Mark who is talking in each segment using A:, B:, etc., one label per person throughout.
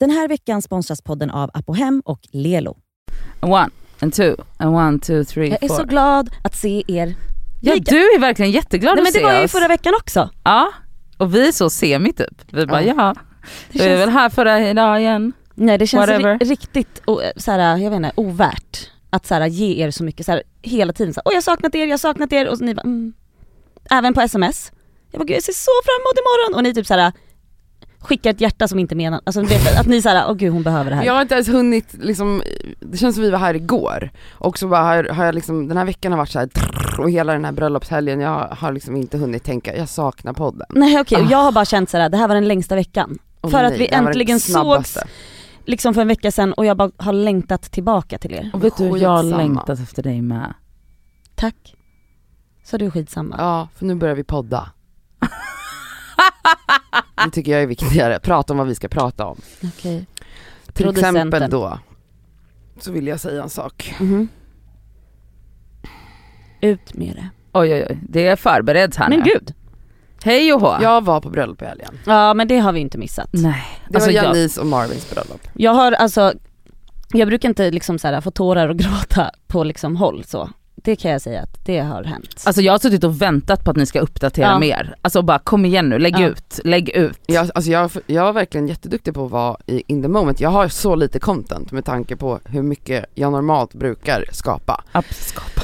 A: Den här veckan sponsras podden av Apohem och Lelo.
B: One and two and one two three
A: Jag är
B: four.
A: så glad att se er.
B: ja
A: Nej,
B: du är verkligen jätteglad
A: Nej,
B: att
A: men det
B: se
A: var jag ju
B: oss.
A: förra veckan också.
B: Ja och vi är så semi typ. Vi bara
A: Ja.
B: ja,
A: Det
B: vi är
A: känns,
B: väl här förra idag igen.
A: nej, det känns ri-
B: whatever.
A: riktigt o- såhär, jag vet inte, ovärt att såhär, ge er så mycket såhär, hela tiden. Såhär, Åh jag har saknat er, jag har saknat er. Och så ni bara, mm. Även på sms. Jag bara, gud jag ser så fram emot imorgon. Och ni typ såhär, skickar ett hjärta som inte menar, alltså ni vet, att ni såhär, åh gud hon behöver det här.
C: Jag har inte ens hunnit liksom, det känns som vi var här igår och så bara har, har jag liksom, den här veckan har varit så här trrr, och hela den här bröllopshelgen, jag har liksom inte hunnit tänka, jag saknar podden.
A: Nej okej, och jag har bara känt såhär, det här var den längsta veckan.
C: Åh,
A: För att
C: nej,
A: vi
C: det här var det
A: äntligen
C: snabbaste.
A: Liksom för en vecka sedan och jag bara har längtat tillbaka till er.
B: Och vet du jag har
C: Skitsamma.
B: längtat efter dig med.
A: Tack. Så du är skitsamma.
C: Ja, för nu börjar vi podda. Det tycker jag är viktigare, prata om vad vi ska prata om.
A: Okej.
C: Till
A: Producenten.
C: exempel då, så vill jag säga en sak.
B: Mm-hmm.
A: Mhm. Ut med det.
B: Oj oj oj, det är förbereds här
A: Men
B: nu.
A: gud.
B: Hej och hå.
C: Jag var på bröllop i helgen.
A: Ja men det har vi inte missat.
B: Nej.
C: Det
B: Alltså,
C: var
B: jag-
C: Janice och Marvins bröllop.
A: Jag har alltså, jag brukar inte liksom så här, få tårar och gråta på liksom håll så. Det kan jag säga att det har hänt.
B: Alltså jag har suttit och väntat på att ni ska uppdatera
A: Ja.
B: mer. Alltså bara kom igen nu, lägg
A: Ja.
B: ut, lägg ut.
C: Jag, alltså jag, jag var verkligen jätteduktig på att vara i, in the moment. Jag har så lite content med tanke på hur mycket jag normalt brukar skapa.
B: Appskapa.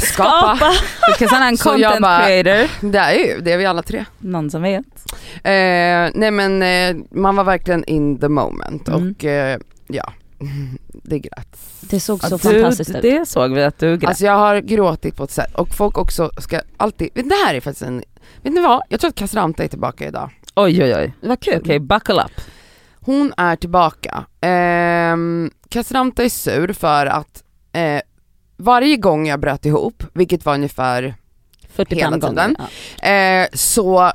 C: Skapa!
B: Because I'm a
C: Så jag
B: content
C: bara-
B: creator.
C: Det är ju, det är vi alla tre.
B: Någon som vet.
C: Eh, nej men eh, man var verkligen in the moment
B: Mm.
C: och eh, ja, det grät.
A: Det såg så
B: Att du,
A: fantastiskt typ. ut.
B: alltså, Det såg vi att du grät.
C: Alltså jag har gråtit på ett sätt och folk också ska alltid, vet, ni, det här är faktiskt en, vet ni vad? Jag tror att Cassandra är tillbaka idag.
B: oj oj oj.
A: Vad kul.
B: Okej buckle up.
C: Hon är tillbaka. Ehm, Cassandra är sur för att eh, varje gång jag bröt ihop, vilket var ungefär
A: 45
C: Hela
A: gånger.
C: tiden.
A: Ja.
C: Eh, så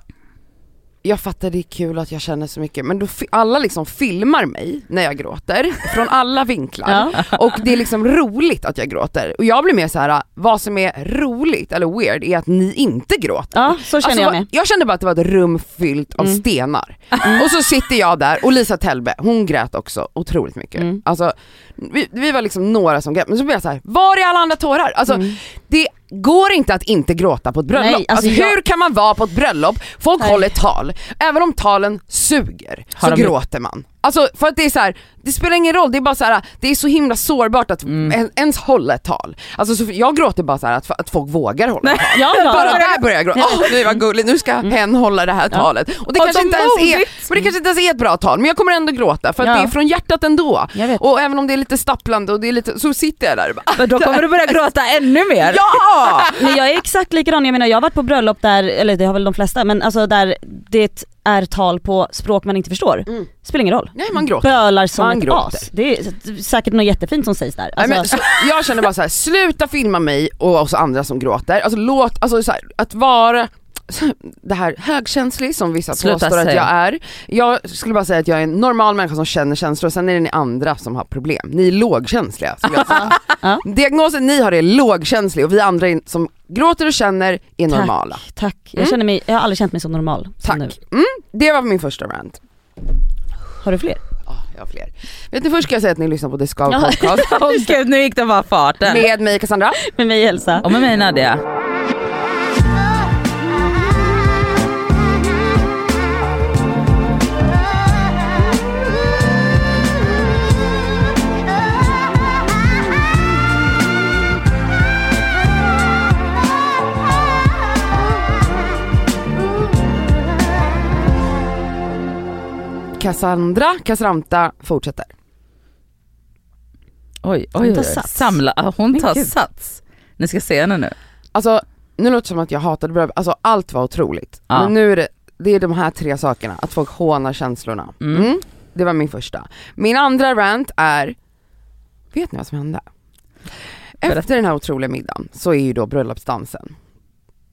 C: jag fattar det är kul att jag känner så mycket men då fi- alla liksom filmar mig när jag gråter från alla vinklar
A: Ja.
C: och det är liksom roligt att jag gråter och jag blir mer så här: vad som är roligt eller weird är att ni inte gråter.
A: ja, så känner
C: Alltså,
A: jag med.
C: jag kände bara att det var ett rum fyllt av
A: Mm.
C: stenar. Och så sitter jag där och Lisa Telbe, hon grät också otroligt mycket.
A: Mm.
C: Alltså, vi, vi var liksom några som grät, men så blev jag så här: var är alla andra tårar? Alltså,
A: Mm.
C: det går inte att inte gråta på ett bröllop.
A: Nej, alltså
C: alltså,
A: jag-
C: Hur kan man vara på ett bröllop, folk
A: Nej.
C: håller tal, även om talen suger
B: Har
C: så
B: de-
C: gråter man. Alltså för att det är så här, det spelar ingen roll, det är bara så här, det är så himla sårbart att
A: Mm.
C: en, ens hålla ett tal. Alltså så, jag gråter bara så här att, att folk vågar hålla ett tal.
A: Ja, ja. Mm.
C: Bara där börjar jag gråta, åh nej vad gulligt, nu ska hen hålla det här talet. Och det, kanske
B: så
C: inte ens är,
B: modigt.
C: men det kanske inte ens är ett bra tal, men jag kommer ändå gråta för att
A: Ja.
C: det är från hjärtat ändå.
A: Jag vet.
C: Och även om det är lite stapplande och det är lite, så sitter jag där och bara,
B: Men då kommer du börja gråta ännu mer.
C: ja!
A: Men jag är exakt likadan, jag menar jag har varit på bröllop där, eller det har väl de flesta, men alltså där det är tal på språk man inte förstår.
C: Mm.
A: Spelar ingen roll.
C: Nej man gråter.
A: Bölar som
C: Man
A: ett
C: gråter.
A: as. Det är säkert något jättefint som sägs där. Alltså,
C: Nej, men, så, jag känner bara så här: sluta filma mig och oss andra som gråter. Alltså låt, alltså så här, att vara det här högkänslig som vissa
B: Sluta
C: påstår att
B: säga.
C: jag är. Jag skulle bara säga att jag är en normal människa som känner känslor, sen är det ni andra som har problem. Ni är lågkänsliga skulle jag säga.
A: Ja.
C: Diagnosen ni har är lågkänslig och vi andra är, som gråter och känner är
A: Tack.
C: normala.
A: Tack, jag,
C: Mm.
A: känner mig, jag har aldrig känt mig så normal som
C: Tack.
A: nu.
C: Mm, det var min första rant.
A: Har du fler?
C: Ah, jag har fler. Vet ni först ska jag säga att ni lyssnar på Discover
A: Ja.
C: Podcast
B: Åh, gud, nu gick det bara farten.
C: med mig Cassandra.
A: Med mig Elsa.
B: Och med mig Nadia.
C: Cassandra, Cassramta fortsätter.
B: Oj oj
A: Hon
B: oj.
A: tar
B: oj.
A: sats.
B: Samla, ah, hon
A: Men
B: tar
A: gud.
B: sats. Ni ska se henne nu.
C: Alltså nu låter det som att jag hatade bröllop, alltså allt var otroligt.
B: Ja.
C: Men nu är det, det är de här tre sakerna, att folk hånar känslorna.
B: Mm.
C: Mm. Det var min första. Min andra rant är, vet ni vad som hände?
B: Berätta.
C: Efter den här otroliga middagen så är ju då bröllopsdansen,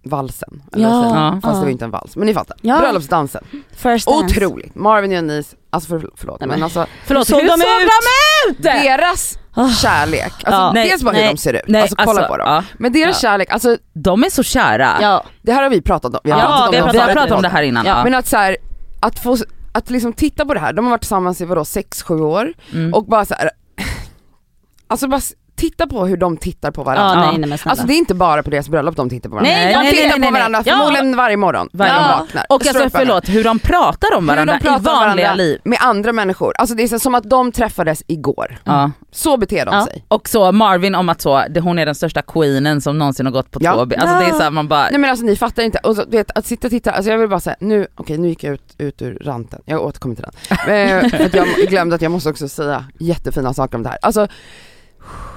C: valsen, eller
A: Ja,
C: vad säger man?
B: Ja.
C: fast det
A: ja.
C: var ju inte en vals, men ni fattar.
A: Ja.
C: Bröllopsdansen,
A: First dance.
C: otroligt. Marvin och Janice, alltså för, förlåt
A: Nej, men-
C: men alltså
B: Förlåt,
A: Hur såg de ut?
B: ut?
C: deras
A: Ah.
C: kärlek, alltså
A: Ja.
B: Nej,
C: dels bara hur
A: nej,
C: de ser ut,
B: Nej,
C: alltså kolla på dem.
B: ja.
C: Men deras kärlek, alltså
B: de är så kära. alltså,
A: Ja,
C: det här har vi pratat om, vi har
A: Ja,
C: pratat om
A: vi
B: vi
A: har
C: dem
B: har
A: pratat
C: förut.
B: pratat om det här innan.
A: Ja.
B: Ja.
C: Men att så här, att få att liksom titta på det här, de har varit tillsammans i vadå, 6-7 år
B: Mm.
C: och bara så här. alltså bara s- titta på hur de tittar på
A: Ja,
C: varandra.
A: nej nej men snälla.
C: Alltså det är inte bara på deras bröllop de tittar på varandra.
A: Nej,
B: Nej,
C: de
B: nej,
C: tittar
B: nej, nej,
C: på
B: nej.
C: varandra
A: Ja.
C: förmodligen varje morgon
B: Varje
C: när de
A: morgon.
C: vaknar.
B: Och alltså
C: Strumpar.
B: förlåt, hur de pratar om
C: Hur de
B: varandra
C: pratar om
B: i vanliga
C: varandra
B: liv.
C: Med andra människor, alltså det är så, som att de träffades igår.
B: Ja.
C: Så beter de
A: Ja.
C: sig.
B: Och så Marvin om att så, det, hon är den största queenen som någonsin har gått på
C: Ja.
B: två ben. Alltså det är såhär man bara,
C: Nej men alltså ni fattar inte, och så, du vet, att sitta och titta, alltså jag vill bara säga nu, okej nu gick jag ut, ut ur ranten, jag återkommer till den. Eh, för att jag glömde att jag måste också säga jättefina saker om det här. Alltså,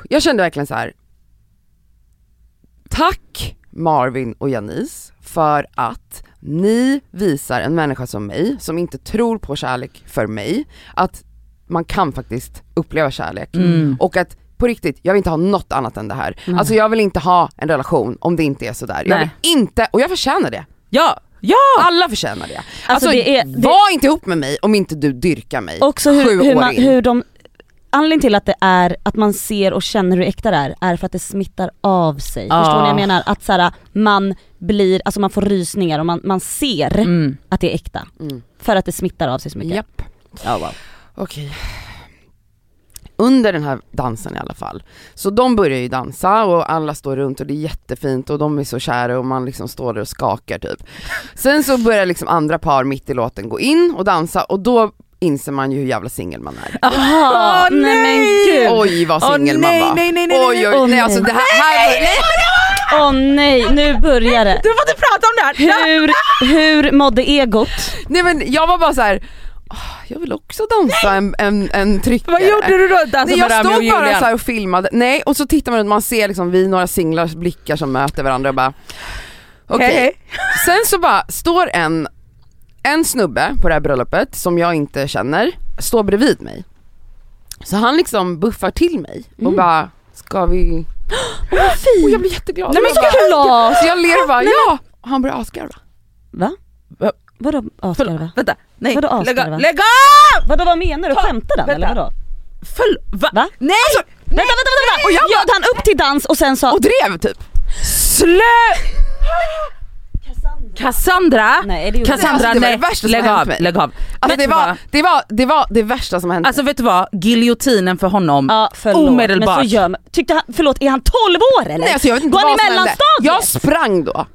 C: jag kände verkligen så här. tack Marvin och Janice för att ni visar en människa som mig, som inte tror på kärlek för mig, att man kan faktiskt uppleva kärlek.
B: mm.
C: Och att på riktigt, jag vill inte ha något annat än det här.
A: Mm.
C: Alltså jag vill inte ha en relation om det inte är sådär. Jag
B: Nej.
C: vill inte, och jag förtjänar det.
B: ja, ja!
C: Alla förtjänar det. Alltså,
A: Ah! det är- det-
C: var inte ihop med mig om inte du dyrkar mig.
B: Typ
A: Också
C: Sju
A: hur, hur,
C: år
A: man,
C: in.
A: hur de, anledningen till att det är, att man ser och känner hur äkta det är, är för att det smittar av sig.
B: Ah.
A: Förstår ni vad jag menar? Att så här, man blir, alltså man får rysningar och man, man ser
B: Mm.
A: att det är äkta.
C: Mm.
A: För att det smittar av sig så mycket.
C: Japp.
A: Ja, wow.
C: Okej. Under den här dansen i alla fall, så de börjar ju dansa och alla står runt och det är jättefint och de är så kära och man liksom står där och skakar typ. Sen så börjar liksom andra par mitt i låten gå in och dansa och då inser man ju hur jävla singel man är.
A: Jaha,
B: Åh,
A: nej men
B: nej!
A: gud.
C: Oj vad
B: Åh,
C: singel man
B: nej,
C: var.
B: nej, nej, nej,
C: oj, oj,
A: Åh,
C: nej
A: nej.
C: alltså det här, här var,
A: Åh nej, nu börjar det.
B: Du får inte prata om det här!
A: Hur, hur mådde egot?
C: nej men jag var bara så här. "Ah, jag vill också dansa en, en, en tryckare.
B: Vad gjorde du då? Dansa
C: Nej,
B: med Romeo
C: jag
B: och
C: stod bara
B: Julia?
C: så här och filmade, nej och så tittar man runt, man ser liksom vi några singlars blickar som möter varandra och bara okej.
B: Hej, hej.
C: Sen så bara står en, en snubbe på det här bröllopet som jag inte känner, står bredvid mig. Så han liksom buffar till mig och
A: Mm.
C: bara, ska vi... Och jag blir jätteglad.
A: Nej men
C: jag bara,
A: såklart!
C: så jag ler och bara, ja! Och han börjar asgarva.
A: Va?
B: Va?
A: Vadå
B: Förlåt,
A: asgarva?
B: vänta, nej,
A: Vadå
B: lägg
A: asgarva?
B: av! Lägg av!
A: Vadå vad menar du?
B: Ta-
A: Skämtar han eller
B: vänta.
A: vadå?
B: Förl- va?
A: Va?
B: Nej!
C: Alltså,
A: Vänta vänta vänta! vänta.
C: Och jag
A: Bjöd han upp till dans och sen sa...
C: Och drev typ.
B: Slö! Cassandra!
A: Nej, det gjorde
B: Cassandra,
C: jag inte. Alltså, det var det
B: nej,
C: värsta som
B: lägg
C: hänt
B: av,
C: mig.
B: lägg av. Vet
C: Alltså det
B: du
C: var,
B: vad?
C: det, var, det var det värsta som hände.
B: Alltså vet du vad, giljotinen för honom.
A: Ja förlåt
B: Omedelbart.
A: men så gör man. Tyckte han, förlåt är han 12 år eller?
C: nej alltså jag vet inte
A: Går han
C: vad
A: i
C: som hände.
A: mellanstadiet?
C: Jag sprang då.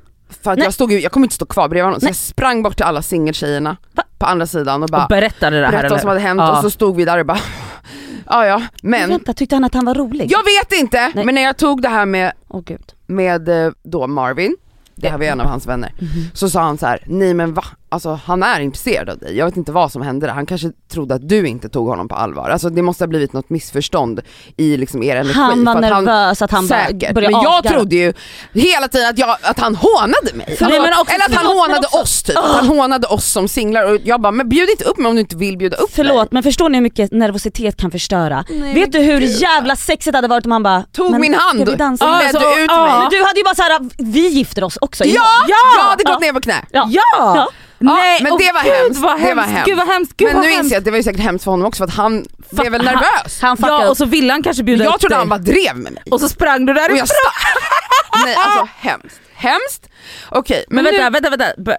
C: För att
A: Nej.
C: jag, stod, ju- jag kommer inte stå kvar bredvid honom så
A: Nej.
C: jag sprang bort till alla singeltjejerna
A: Va?
C: på andra sidan och bara
B: och berättade det här
C: berättade vad som hade hänt
B: Ja.
C: och så stod vi där och bara ja ja men
A: Vänta tyckte han att han var rolig?
C: jag vet inte
A: Nej.
C: men när jag tog det här med,
A: Åh gud.
C: med eh, då Marvin, det här var ju en av hans vänner,
A: Mhm.
C: så sa han så här: nej men va? Alltså han är intresserad av dig, jag vet inte vad som hände där, han kanske trodde att du inte tog honom på allvar. Alltså det måste ha blivit något missförstånd i liksom er energi.
A: Han var
C: för att
A: nervös att han bara
C: Säkert, men
A: började
C: jag
A: asgarva.
C: trodde ju hela tiden att, jag, att han hånade mig.
B: Nej, men också-
C: eller att han
A: förlåt, men
C: hånade oss typ, Att han hånade oss som singlar och jag bara, men bjud inte upp mig om du inte vill bjuda upp mig.
A: Förlåt men förstår ni hur mycket nervositet kan förstöra? Vet du hur jävla sexigt det hade varit om han bara
C: Tog
A: "Men
C: min hand
A: Ska vi dansa?
C: och
B: Ja,
C: ledde
B: alltså,
C: ut
B: ja.
C: mig.
A: Men du hade ju bara såhär, vi gifter oss också
C: Ja!
A: imorgon."
C: ja! Jag hade gått ner på knä.
A: Ja.
B: Ja!
A: Ja.
B: Nej,
C: men
B: och
C: det var
B: gud,
C: hemskt,
B: Vad
C: det
B: hemskt.
C: var hemskt.
B: Gud vad hemskt. Gud,
C: men
B: vad
C: nu
B: hemskt.
C: inser jag att det var ju säkert hemskt för honom också för att han blev väl
A: han-
C: nervös.
A: Han fuckade
B: Ja
A: upp.
B: och så ville han kanske bjuda
C: jag
B: upp dig.
C: trodde han bara drev med mig.
B: Och så sprang du
C: Och
B: därifrån.
C: jag stack. Nej alltså hemskt. Hemskt. Okej
B: Men
C: men,
B: vänta,
C: nu,
B: vänta, vänta. B-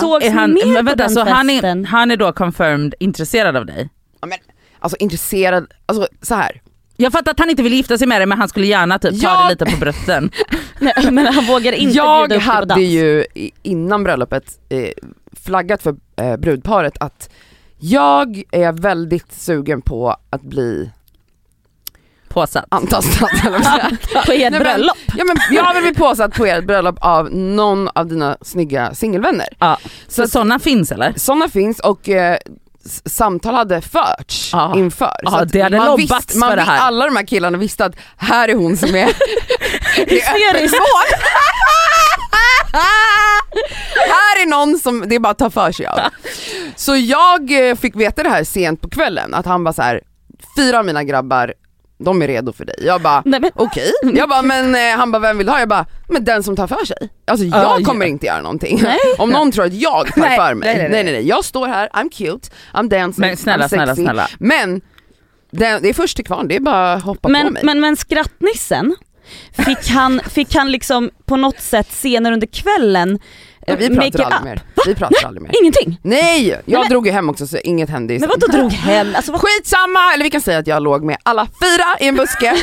A: Sågs
B: är
A: ni
B: han,
A: mer på
B: men vänta,
A: den
B: så han
A: festen?
B: är, han är då confirmed intresserad av dig?
C: ja, men, alltså intresserad, alltså så här.
B: Jag fattar att han inte vill gifta sig med dig men han skulle gärna typ ta
C: Jag-
B: dig lite på brösten.
A: Nej, men han vågade inte
C: jag
A: bjuda upp dig på
C: hade
A: dans.
C: ju i- innan bröllopet eh, flaggat för eh, brudparet att jag är väldigt sugen på att bli
B: Påsatt.
C: antastad eller vad man säger.
A: På ert
C: men-
A: bröllop.
C: Ja men jag vill bli påsatt på ert bröllop av någon av dina snygga singelvänner.
B: Ja.
C: Så
B: Så
C: att-
B: sådana finns eller?
C: Sådana finns och eh, s- samtal hade förts
B: Ja.
C: inför.
B: Ja, det hade
C: man
B: lobbats
C: visste, man
B: för det
C: vi-
B: här.
C: Alla de här killarna visste att här är hon som är det är öppet
A: Hysterisk.
C: mål. här är någon som det är bara att ta för sig av. Så jag eh, fick veta det här sent på kvällen att han bara så här, fyra av mina grabbar de är redo för dig. Jag bara
A: Nej, men,
C: okej, jag bara men eh, han bara vem vill du ha? Jag bara men den som tar för sig. Alltså
B: Ja,
C: jag
B: ja.
C: kommer inte göra någonting. Om någon tror att jag tar
B: Nej,
C: för mig.
B: nej, nej, nej.
C: nej nej nej, jag står här, I'm cute, I'm dancing,
B: Men snälla,
C: I'm sexy.
B: snälla, snälla.
C: Men den, det är först till kvarn, det är bara att hoppa på
A: men,
C: mig.
A: men, men skrattnissen, fick han, fick han liksom på något sätt senare under kvällen
C: Ja, vi pratar
A: Make it
C: aldrig
A: up.
C: mer. Vi pratar aldrig mer.
A: Ingenting!
C: Nej! Jag
A: Nej, men-
C: drog ju hem också så inget hände i
A: Men vadå drog hem, alltså vad
C: Skitsamma! Eller vi kan säga att jag låg med alla fyra i en buske.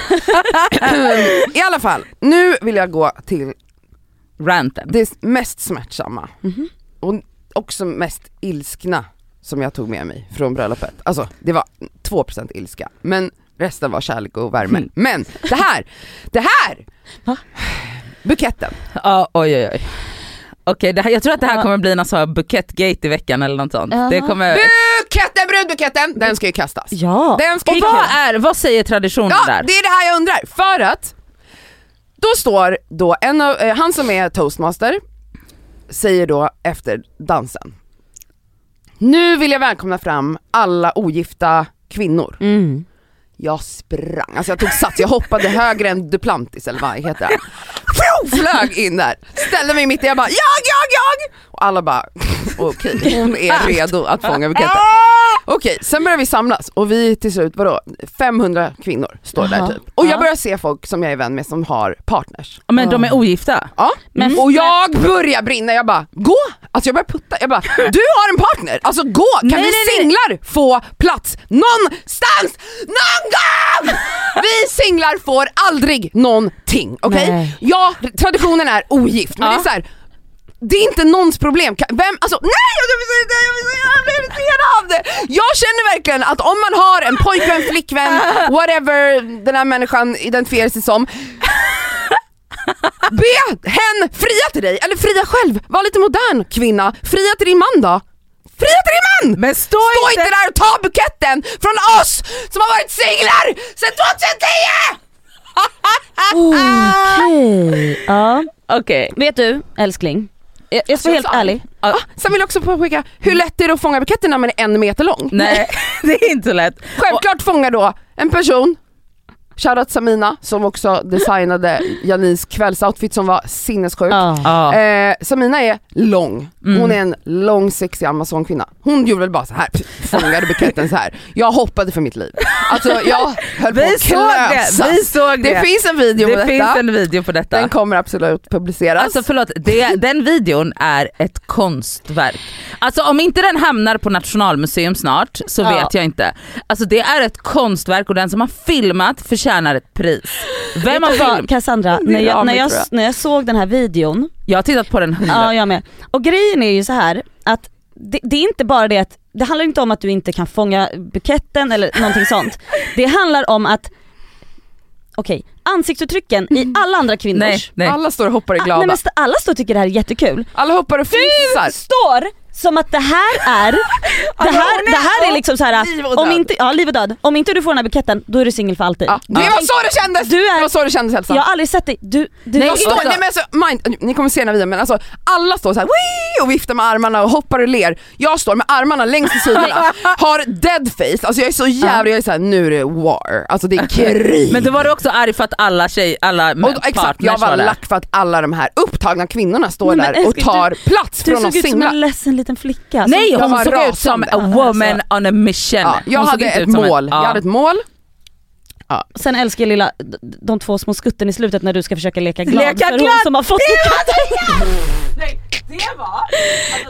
C: I alla fall, nu vill jag gå till
B: Ranten.
C: det mest smärtsamma och också mest ilskna som jag tog med mig från bröllopet. Alltså det var 2% ilska, men resten var kärlek och värme.
B: Mm.
C: Men det här, det här!
A: Va?
C: Buketten.
B: Ja, oj oj oj. Okej, det här, jag tror att det här
A: Ja.
B: kommer bli någon sån här bukettgate i veckan eller något sånt.
A: Jaha.
B: Det kommer...
C: Buketten, brudbuketten! Den ska ju kastas.
A: Ja!
C: Den ska
B: Och
C: ju
B: vad, är, vad säger traditionen
C: Ja,
B: där?
C: det är det här jag undrar. För att då står då en av, eh, han som är toastmaster säger då efter dansen. Nu vill jag välkomna fram alla ogifta kvinnor.
A: Mm.
C: Jag sprang, alltså jag tog sats, jag hoppade högre än Duplantis eller vad heter han? Fjo, Flög in där, ställde mig mitt i, jag bara jag, jag, jag! Och alla bara okej, hon är redo att fånga buketten. Okej, sen börjar vi samlas och vi till slut, vadå, 500 kvinnor står
A: Jaha.
C: där typ. Och
A: Ja.
C: jag börjar se folk som jag är vän med som har partners.
B: Ja, Men de är ogifta.
C: Ja.
A: Men-
C: och jag börjar brinna, jag bara gå! Alltså jag börjar putta, jag bara du har en partner, alltså gå! Kan
B: Nej,
C: vi
B: nej, nej.
C: singlar få plats någonstans, någon gång? Vi singlar får aldrig någonting, okej?
A: Nej.
C: Ja, traditionen är ogift, men
B: Ja.
C: det är så här. Det är inte någons problem. Kan- Vem, alltså nej! Jag blir så- jag blir så jävla irriterad av det! Jag känner verkligen att om man har en pojkvän, flickvän, whatever den här människan identifierar sig som. Be hen fria till dig, eller fria själv. Var lite modern kvinna. Fria till din man då. Fria till din man!
B: Men stå,
C: Stå
B: inte...
C: inte där och ta buketten från oss som har varit singlar sedan 2010!
A: Okej, ja.
B: Okej.
A: Vet du älskling, jag, jag ska vara helt
C: Alltså,
A: ärlig.
B: Ja,
C: Sen vill jag också påpeka, hur lätt är det att fånga buketten när man är en meter lång?
B: Mm. Nej, det är inte lätt.
C: Självklart fångar då en person, shoutout Samina som också designade Janins kvällsoutfit som var sinnessjuk.
A: Ja.
B: Ja. Mm.
C: Eh, Samina är lång, hon är en lång sexig amazonkvinna. Hon gjorde väl bara så här, pff, fångade buketten så här. Jag hoppade för mitt liv. Alltså jag höll på
B: Vi
C: att
B: såg det,
C: klösas.
B: vi såg det.
C: Det finns en video på
B: Det finns
C: detta,
B: en video på detta.
C: den kommer absolut publiceras.
B: Alltså förlåt, det, den videon är ett konstverk. Alltså om inte den hamnar på Nationalmuseum snart så
A: Ja.
B: vet jag inte. Alltså det är ett konstverk och den som har filmat förtjänar ett pris. Vem har
A: Vet du vad,
B: filmat?
A: Cassandra, när
C: är
A: jag,
C: av
A: när,
C: mig,
A: jag,
C: tror jag.
A: när jag såg den här videon,
B: Jag har tittat på den hundra.
A: ja jag med. Och grejen är ju så här att det, det är inte bara det att, det handlar inte om att du inte kan fånga buketten eller någonting sånt. Det handlar om att, okej, ansiktsuttrycken i alla andra kvinnors,
B: Nej, nej.
C: Alla står och hoppar och Mm. är
A: Ah, nej,
C: glada.
A: men st- alla står och tycker det här är jättekul.
C: Alla hoppar och fnissar.
A: står som att det här är, det här, det här är liksom så här,
C: Liv och
A: om
C: död.
A: inte, ja liv och död. Om inte du får den här buketten, då är du singel för alltid.
C: Ja, det var så det kändes!
A: Du är-
C: Det var så det kändes Elsa.
A: Jag har aldrig sett dig, du, du
B: Nej,
C: De står,
B: alltså-
C: nej, men alltså, mind, ni kommer se när vi är men alltså alla står såhär och viftar med armarna och hoppar och ler. Jag står med armarna längst i sidorna, har dead face, alltså jag är så jävla, jag är såhär nu är det war, alltså det är krig.
B: Men då var du också arg för att alla tjej, alla
C: och, då- exakt, jag var
B: där.
C: lack för att alla de här upptagna kvinnorna står
A: Nej, men
C: där och
A: älskling,
C: tar plats
A: Du
C: från
A: såg
C: oss
A: ut som en
C: singlar.
A: ledsen liten flicka. alltså.
B: Nej
A: Som-
C: alltså,
B: hon
C: Jag var
B: såg ut som a
C: rasande. Alltså.
B: woman on a mission.
C: Ja, jag
B: Hon såg
C: hade
B: inte
C: ett
B: ut som en-
C: mål, jag
B: ja.
C: hade ett mål.
A: Sen älskar jag lilla, d- de två små skutten i slutet när du ska försöka leka glad
B: Leka
A: för hon
B: glad!
A: som har fått
B: Nej, det var...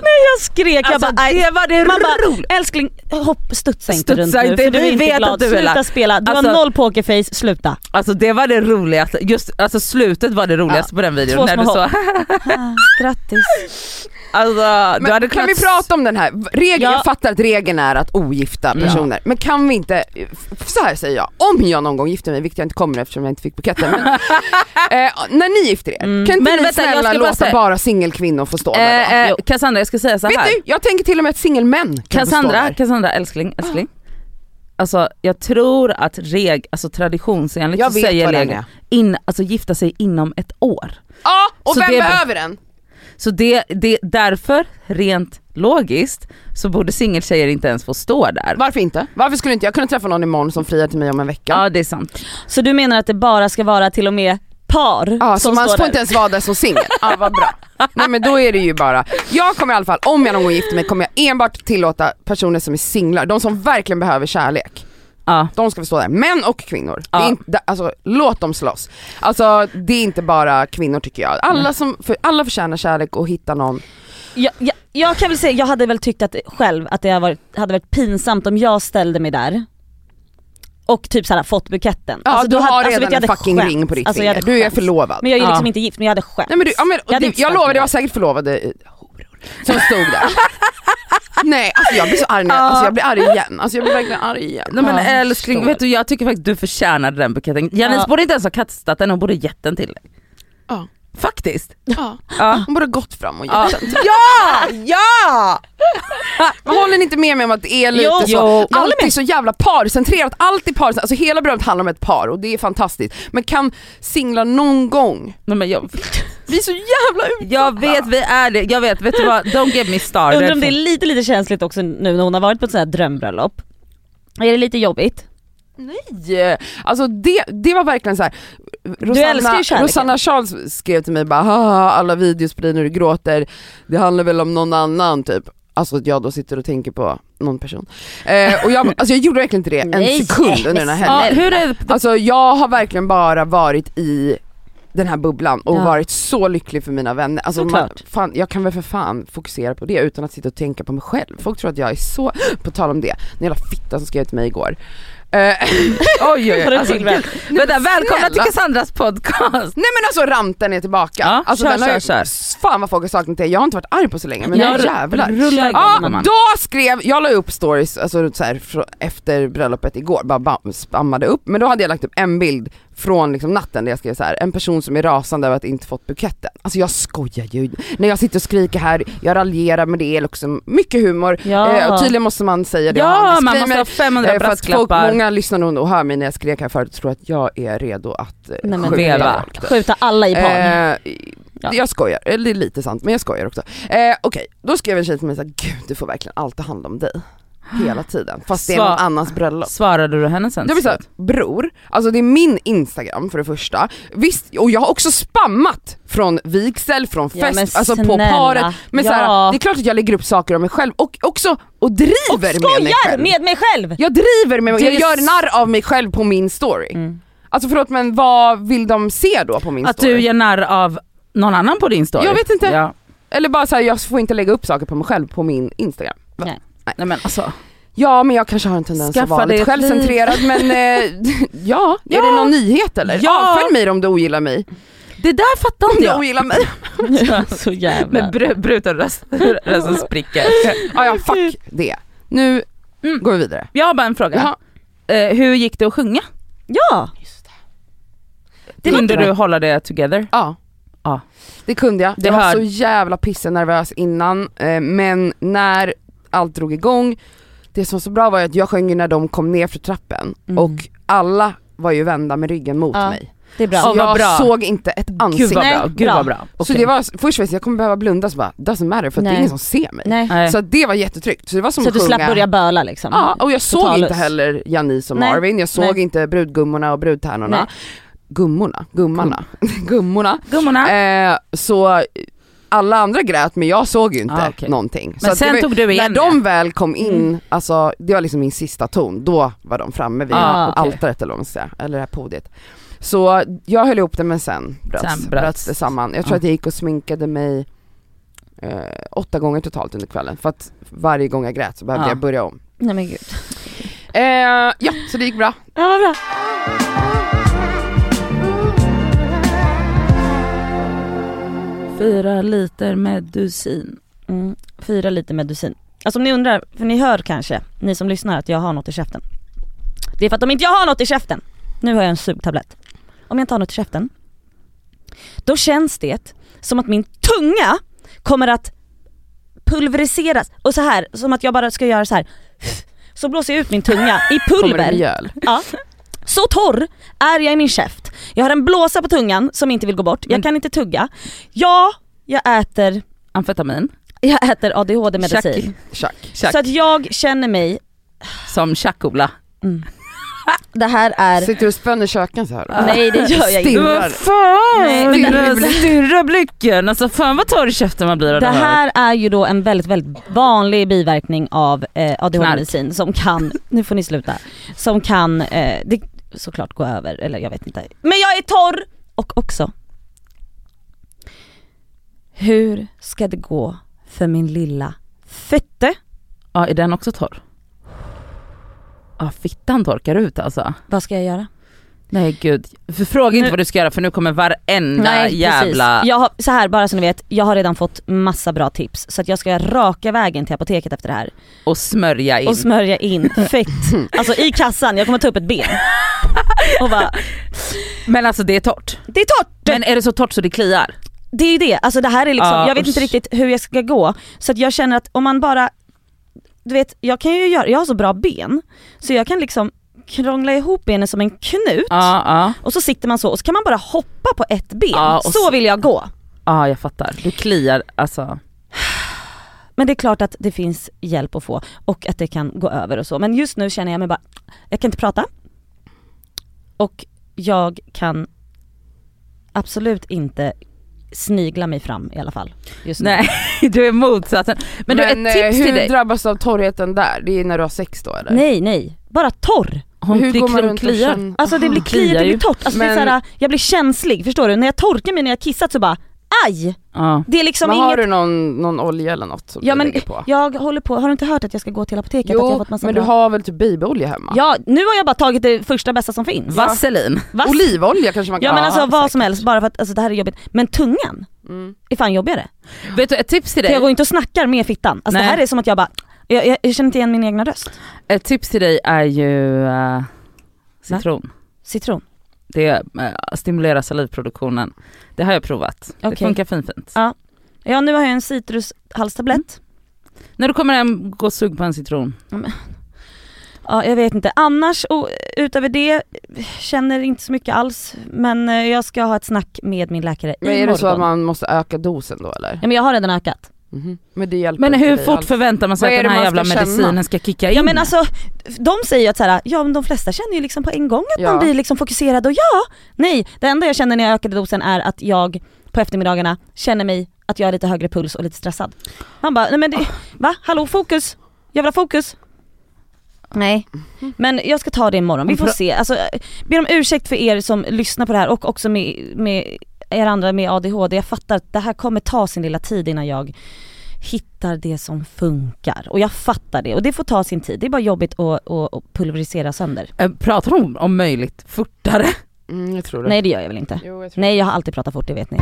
A: Nej jag skrek, jag
B: Alltså,
A: bara aj.
B: det var det
A: Man
B: roliga.
A: bara älskling hopp, studsa inte
B: Studsa
A: runt nu
B: inte,
A: för du
B: vi
A: är inte
B: vet
A: glad.
B: att du är
A: sluta
B: lack.
A: spela, du
B: Alltså-
A: har noll pokerface, sluta.
B: Alltså det var det roligaste, just alltså slutet var det roligaste på den videon.
A: Två
B: När
A: små
B: du så,
A: hopp. Ah, grattis.
B: alltså, du
C: Men
B: hade
C: kan
B: kunnat
C: vi prata om den här regeln?
A: Ja.
C: Jag fattar att regeln är att ogifta personer, men kan vi inte, f- så här säger jag, om jag någon gång gifter mig, vilket jag inte kommer eftersom jag inte fick buketten, men, eh, när ni gifter er, kan inte
B: Mm. Men
C: ni
B: vänta, jag
C: snälla
B: ska bara
C: låta
B: säga-
C: bara singelkvinnor få stå där? då?
B: Eh, eh,
A: Jo.
B: Cassandra jag ska säga så
C: Vet
B: här.
C: du, jag tänker till och med att singelmän kan få stå
B: Cassandra,
C: där.
B: Cassandra älskling, älskling. Alltså jag tror att reg, alltså traditionsenligt
C: Jag
B: så
C: vet
B: säger
C: vad den
B: regeln,
C: är.
B: in, alltså gifta sig inom ett år.
C: Ja, och
B: Så
C: vem
B: det är-
C: behöver den?
B: Så det, det, därför, rent logiskt, så borde singeltjejer inte ens få stå där.
C: Varför inte? Varför skulle inte jag kunna träffa någon imorgon som friar till mig om en vecka?
B: Ja det är sant.
A: Så du menar att det bara ska vara till och med par
C: Ja, så
A: som
C: man
A: står
C: får
A: där?
C: inte ens vara där som singel. Ja, vad bra. Nej men då är det ju bara, jag kommer i alla fall, om jag någon gång gifter mig kommer jag enbart tillåta personer som är singlar, de som verkligen behöver kärlek.
B: Ja.
C: De ska få stå där, män och kvinnor. Det
B: Ja.
C: är inte, alltså, låt dem slåss. Alltså det är inte bara kvinnor tycker jag. Alla, som, för, alla förtjänar kärlek och hitta någon.
A: Jag, jag, jag kan väl säga, jag hade väl tyckt att själv att det hade varit, hade varit pinsamt om jag ställde mig där och typ såhär fått buketten.
C: Ja du
A: då
C: har
A: hade- alltså, vet
C: redan
A: du, jag hade
C: en fucking
A: skämt.
C: ring på ditt
A: Alltså, jag
C: finger,
A: hade
C: du är
A: skämt.
C: förlovad.
A: Men jag är ju
B: Ja.
A: liksom inte gift men jag hade skämt.
C: Nej men, du, ja, men
A: hade
C: jag,
A: inte
C: du, jag
A: sagt
C: lovar
A: nej.
C: det var säkert förlovade eh, horor som stod där. Nej alltså jag blir så arg nu, alltså, jag blir arg igen. Alltså jag blir verkligen arg igen.
B: Nej, men
A: Ja,
B: älskling,
A: förstår.
B: vet du, jag tycker faktiskt du förtjänade den buketten. Janice
A: Ja.
B: borde inte ens ha kastat den, hon borde gett den till dig.
C: Ja.
B: Faktiskt.
C: Ja.
B: Ja.
C: Hon borde ha gått fram och
B: Ja.
C: gjort den. Men håller ni inte med mig om att det är lite
A: Jo,
C: så?
A: jo, jag håller
C: allt är
A: med.
C: så jävla parcentrerat, allt är parcentrerat, alltså hela berömt handlar om ett par och det är fantastiskt. Men kan singlar någon gång,
B: Nej, men jag,
C: vi är så jävla ut.
B: jag vet, vi är det. Jag vet, vet du vad? Don't get me started.
A: Undrar om det är lite lite känsligt också nu när hon har varit på ett sånt här drömbröllop. Är det lite jobbigt?
C: Nej! Alltså det, det var verkligen så här.
A: älskar ju kärleken.
C: Rosanna Charles skrev till mig bara haha alla videos på dig när du gråter, det handlar väl om någon annan typ. Alltså att jag då sitter och tänker på någon person. Eh, och jag, alltså jag gjorde verkligen inte det en
A: Nej,
C: sekund under den här helgen.
B: ja, hur är det?
C: Alltså jag har verkligen bara varit i den här bubblan och
A: Ja.
C: varit så lycklig för mina vänner. Alltså man,
A: Såklart.
C: fan, jag kan väl för fan fokusera på det utan att sitta och tänka på mig själv. Folk tror att jag är så, på tal om det, den jävla fitta som skrev till mig igår. Eh, oj oj
A: Har
C: oj.
A: du
C: Alltså,
A: till vän?
C: gud.
B: Vänta, välkomna till
C: snälla.
B: Cassandras podcast.
C: Nej men alltså ranten är tillbaka.
B: Ja,
C: alltså,
B: kör,
C: den har
B: kör,
C: ju-
B: kör.
C: Fan vad folk har saknat det, jag har inte varit arg på så länge men
B: Jag
C: nu jävlar.
B: rullar igång,
C: Ja,
B: man.
C: då skrev, jag la upp stories alltså, så här, frå- efter bröllopet igår, bara bam, spammade upp, men då hade jag lagt upp en bild från liksom, natten där jag skrev så här: en person som är rasande över att inte fått buketten. Alltså jag skojar ju, när jag sitter och skriker här, jag raljerar med det, liksom, mycket humor,
A: Ja.
C: eh, och tydligen måste man säga det och ha en
B: Ja, man måste
C: disclaimer,
B: ha 500
C: eh, för att folk,
B: brasklappar.
C: många lyssnar nog och hör mig när jag skrek här förut och tror att jag är redo att eh,
A: Nej, men
C: skjuta
B: veva.
C: folk.
A: Skjuta alla i par.
C: Eh,
A: Ja.
C: Jag skojar, eller det är lite sant men jag skojar också. Eh, Okej, då skrev en tjej till mig såhär, gud du får verkligen alltid handla om dig. Hela tiden, fast det är
B: Svar-
C: någon annans bröllop.
B: Svarade du henne sen?
C: Jag blir såhär, bror, alltså det är min instagram för det första. Visst, och jag har också spammat från vigsel, från
A: Ja, men
C: fest, alltså på
A: snälla.
C: paret. Men
A: Ja.
C: såhär, det är klart att jag lägger upp saker om mig själv och också, och driver
A: och
C: med mig
A: skojar
C: själv.
A: med mig själv!
C: Jag driver med mig,
B: Det
C: jag
B: är
C: gör
B: s-
C: narr av mig själv på min story.
A: Mm.
C: Alltså förlåt men vad vill de se då på min
B: Att
C: story?
B: du gör narr av någon annan på din story?
C: Jag vet inte.
B: Ja.
C: Eller bara såhär, jag får inte lägga upp saker på mig själv på min instagram. Va?
A: Nej.
B: Nej men alltså.
C: Ja men jag kanske har en tendens att
B: Skaffa
C: vara
B: dig
C: lite
B: ett liv.
C: självcentrerad men eh, ja, är det någon nyhet eller?
B: Ja.
C: Avfölj mig om du ogillar mig.
B: Det där fattar
C: Om
B: inte
C: du
B: jag.
C: ogillar mig.
A: Så jävla...
B: Med br- bruten röst, rösten spricker.
C: Ja, ja fuck det. Nu
B: Mm.
C: går vi vidare.
B: Jag har bara en fråga.
C: Jaha.
B: Eh, hur gick det att sjunga?
A: Ja!
B: Det
C: var
B: Kunde
C: inte
B: du hålla det together?
C: Ja.
B: Ja.
C: Det kunde jag.
B: Det
C: Jag var
B: hör-
C: så jävla pissenervös innan eh, men när allt drog igång, det som var så bra var ju att jag sjöng ju när de kom ner för trappen
A: Mm.
C: och alla var ju vända med ryggen mot
A: Ja.
C: mig.
A: Det är bra.
B: Ja,
C: Så
B: vad
C: jag
B: bra.
C: såg inte ett ansikte.
B: Gud vad
A: Nej,
B: bra. Gud
A: bra.
B: vad bra.
C: Så det var, först visste jag kommer behöva blunda så bara, doesn't matter för att det
A: Nej.
C: är ingen som ser mig.
A: Nej.
B: Nej.
C: Så att det var jättetryggt, så det var som
A: Så
C: att
A: att du
C: sjunga.
A: slapp börja böla liksom.
C: Ja, och jag såg
A: Totalus.
C: inte heller Janice och
A: Nej.
C: Marvin, jag såg
A: Nej.
C: inte brudgummorna och brudtärnorna.
A: Nej.
C: Gummorna, gummorna, gummorna.
B: Gummorna.
C: Eh, så alla andra grät men jag såg ju inte
B: Ah, okej.
C: någonting. Så
B: Men
C: att det
B: sen
C: var ju-
B: tog du
C: När
B: igen
C: de
B: det. Mm.
C: väl kom in, alltså det var liksom min sista ton, då var de framme vid
B: Ah, okej.
C: altaret eller vad man ska säga, eller det här podiet. Så jag höll ihop det men sen bröts,
B: Sen bröts.
C: bröts det samman. Jag tror
B: Ah.
C: att jag gick och sminkade mig eh, åtta gånger totalt under kvällen för att varje gång jag grät så behövde
B: Ah.
C: jag börja om.
A: Nej men gud.
C: Eh, ja, så det gick bra.
A: Ja vad bra.
B: Fyra liter Medusin.
A: Mm. Fyra liter Medusin. Alltså om ni undrar, för ni hör kanske, ni som lyssnar att jag har något i käften. Det är för att om inte jag har något i käften, nu har jag en sugtablett. Om jag inte har något i käften, då känns det som att min tunga kommer att pulveriseras och så här som att jag bara ska göra så här. Så blåser jag ut min tunga i
C: Kommer det
A: pulver.
C: mjöl?
A: Ja. Så torr är jag i min käft. Jag har en blåsa på tungan som inte vill gå bort. Jag
B: Men-
A: kan inte tugga. Ja, jag äter,
B: Amfetamin.
A: jag äter ADHD-medicin.
B: Chack.
C: Tjack.
B: Chack.
A: Så att jag känner mig,
B: Som chack-Ola.
A: Det här är...
C: Sitter du och spänner köken så här?
B: Ah.
C: då?
A: Nej det gör jag inte.
C: Stirrar.
B: Vad fan!
A: Nej, men
B: Stirra-
A: alltså-
B: Stirra blicken, alltså fan vad torr i käften man blir av
A: Det
B: det här.
A: här är ju då en väldigt, väldigt vanlig biverkning av eh, ADHD-medicin som kan, nu får ni sluta, som kan eh, det, såklart gå över, eller jag vet inte. Men jag är torr! Och också, hur ska det gå för min lilla fötte?
B: Ja, är den också torr? Ja, fittan torkar ut alltså.
A: Vad ska jag göra?
B: Nej gud, för fråga inte
A: Nu-
B: vad du ska göra för nu kommer varenda Mm. jävla...
A: Jag har, så här bara så ni vet, jag har redan fått massa bra tips så att jag ska raka vägen till apoteket efter det här
B: Och smörja in.
A: och smörja in fett, alltså i kassan, jag kommer ta upp ett ben och bara
B: Men alltså det är torrt.
A: Det är torrt!
B: Men är det så torrt så det kliar?
A: Det är ju det, alltså det här är liksom,
B: Ja,
A: jag vet inte
B: usch.
A: riktigt hur jag ska gå. Så att jag känner att om man bara, du vet jag kan ju göra, jag har så bra ben så jag kan liksom krångla ihop benen som en knut
B: Ja, ja.
A: och så sitter man så och så kan man bara hoppa på ett ben.
B: Ja, och
A: så
B: så-
A: vill jag gå.
B: Ja jag fattar. Du kliar alltså.
A: Men det är klart att det finns hjälp att få och att det kan gå över och så. Men just nu känner jag mig bara, jag kan inte prata. Och jag kan absolut inte snigla mig fram i alla fall just nu.
B: Nej du är motsatsen. Men, du ett
C: eh,
B: tips
C: hur
B: till dig.
C: drabbas du av torrheten där? Det är när du har sex då eller?
A: Nej nej, bara torr.
B: Hon
C: hur går
B: tycker
C: man
B: de
C: runt och
B: kliar.
C: känner-
A: Alltså det blir
B: Ah.
A: kliigt, det
B: Kliar
A: blir
B: ju.
A: torrt. Alltså det är
C: Men-
A: såhär, jag blir känslig, förstår du? När jag torkar mig när jag kissat så bara aj!
B: Ja.
A: Det är liksom
C: men har
A: inget...
C: du någon, någon olja eller något som
A: Ja
C: du
A: men
C: lägger på?
A: jag håller på, har du inte hört att jag ska gå till apoteket? att jag har
C: Jo
A: fått massa
C: men du
A: bra-
C: har väl typ babyolja hemma?
A: Ja, nu har jag bara tagit det första bästa som finns.
B: Vaselin.
A: Vass-
C: Olivolja kanske man kan
A: Ja men alltså
C: Ja,
A: vad
C: säkert.
A: som helst, bara för att alltså, det här är jobbigt. Men tungan
C: Mm.
A: är fan jobbigare.
B: Vet du ett tips till
A: För jag
B: dig?
A: går inte och snackar med fittan. Alltså det
B: Nej.
A: här är som att jag bara, jag, jag, jag känner inte igen min egna röst.
B: Ett tips till dig är ju eh, citron.
A: Citron.
B: Det eh, stimulerar salivproduktionen. Det har jag provat. Det
A: Okej.
B: funkar fint fint.
A: Ja. Ja nu har jag en citrushalstablett.
B: När du kommer hem, gå och sug på en citron.
A: Ja, jag vet inte. Annars, och utöver det, känner inte så mycket alls. Men eh, jag ska ha ett snack med min läkare
C: Men är
A: imorgon.
C: det så att man måste öka dosen då eller?
A: Ja men jag har redan ökat.
C: Mhm. Men det hjälper
B: Men
C: inte
B: hur
C: dig
B: fort
C: alls.
B: förväntar man sig
C: Vad
B: att
C: är
B: den
C: det
B: här
C: man
B: jävla
C: ska känna?
B: medicinen ska kicka in?
A: Ja men alltså, de säger ju att så här, ja men de flesta känner ju liksom på en gång att
C: Ja.
A: man blir liksom fokuserad och ja, nej. Det enda jag känner när jag ökade dosen är att jag på eftermiddagarna känner mig att jag har lite högre puls och lite stressad. Man bara, nej men det, va? Hallå fokus? Jag vill ha fokus. Nej. Men jag ska ta det imorgon, vi får se. Alltså, eh, ber om ursäkt för er som lyssnar på det här och också med, med er andra med ADHD. Jag fattar att det här kommer ta sin lilla tid innan jag hittar det som funkar. Och jag fattar det och det får ta sin tid. Det är bara jobbigt att, att, att pulverisera sönder.
B: Eh, Pratar hon om möjligt fortare?
C: Mm, jag tror det.
A: Nej det gör jag väl inte.
C: Jo, jag tror
A: Nej jag har alltid pratat fort, det vet ni.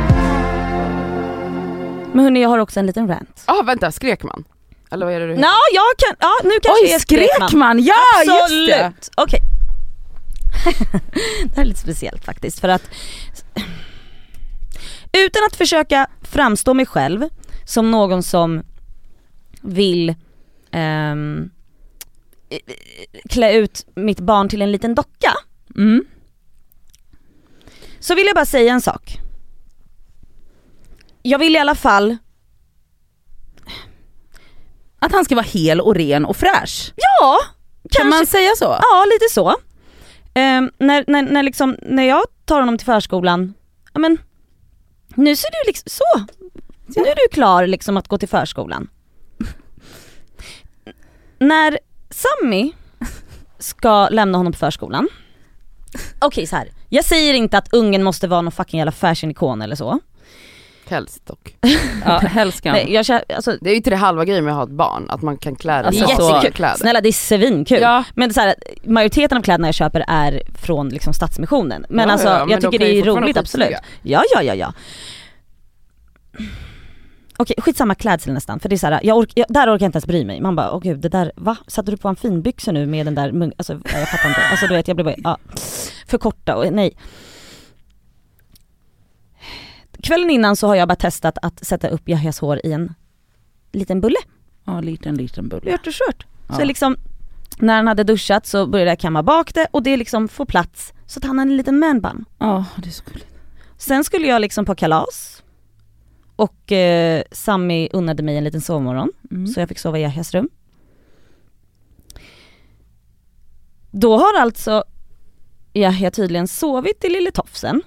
A: Men hörni jag har också en liten rant.
C: Ah vänta, skrek man? Eller vad är det du
A: Nå, jag kan, ja nu kanske
B: Oj
A: jag
B: skrek man? Ja just det!
A: Absolut! Okej. det här är lite speciellt faktiskt för att utan att försöka framstå mig själv som någon som vill ehm, eh, klä ut mitt barn till en liten docka
B: Mm.
A: så vill jag bara säga en sak. Jag vill i alla fall,
B: Att han ska vara hel och ren och fräsch.
A: ja,
B: Kan
A: kanske
B: man säga så?
A: Ja, lite så. Ehm, när, när, när, liksom, när jag tar honom till förskolan, ja men nu ser du liksom, så. Nu är du klar liksom att gå till förskolan. när Sammy ska lämna honom på förskolan, okej så här. jag säger inte att ungen måste vara någon fucking jävla fashion-ikon eller så.
C: Helst dock.
B: Ja, helst kan.
A: Nej, jag, kä- alltså,
C: Det är ju inte det halva grejen med att ha ett barn, att man kan klä
B: Alltså,
C: sig i
B: så-
C: jättekul.
A: Snälla det är svinkul.
B: Ja.
A: Men så här, majoriteten av kläderna jag köper är från liksom Stadsmissionen. Men
C: Ja,
A: alltså
C: ja,
A: jag
C: men de
A: tycker
C: kan
A: det
C: ju
A: är
C: fortfarande
A: roligt
C: vara
A: absolut.
C: skitsnygga.
A: Ja ja ja ja. Okej skitsamma klädsel nästan för det är så här, jag ork, jag, där orkar jag inte ens bry mig. Man bara åh gud det där, va? Satte du på en finbyxa nu med den där mung... Alltså nej, jag fattar inte. Alltså du vet jag blir bara, ja. För korta och nej. Kvällen innan så har jag bara testat att sätta upp Yahyas hår i en liten bulle.
B: Ja, liten liten bulle.
A: Lört och skört.
B: Ja.
A: Så liksom, när han hade duschat så började jag kamma bak det och det liksom får plats så att han har en liten manbun.
B: Ja, det är så gulligt.
A: Sen skulle jag liksom på kalas och eh, Sammy unnade mig en liten sovmorgon
B: Mm.
A: så jag fick sova i Yahyas rum. Då har alltså Ja, jag har tydligen sovit i lille tofsen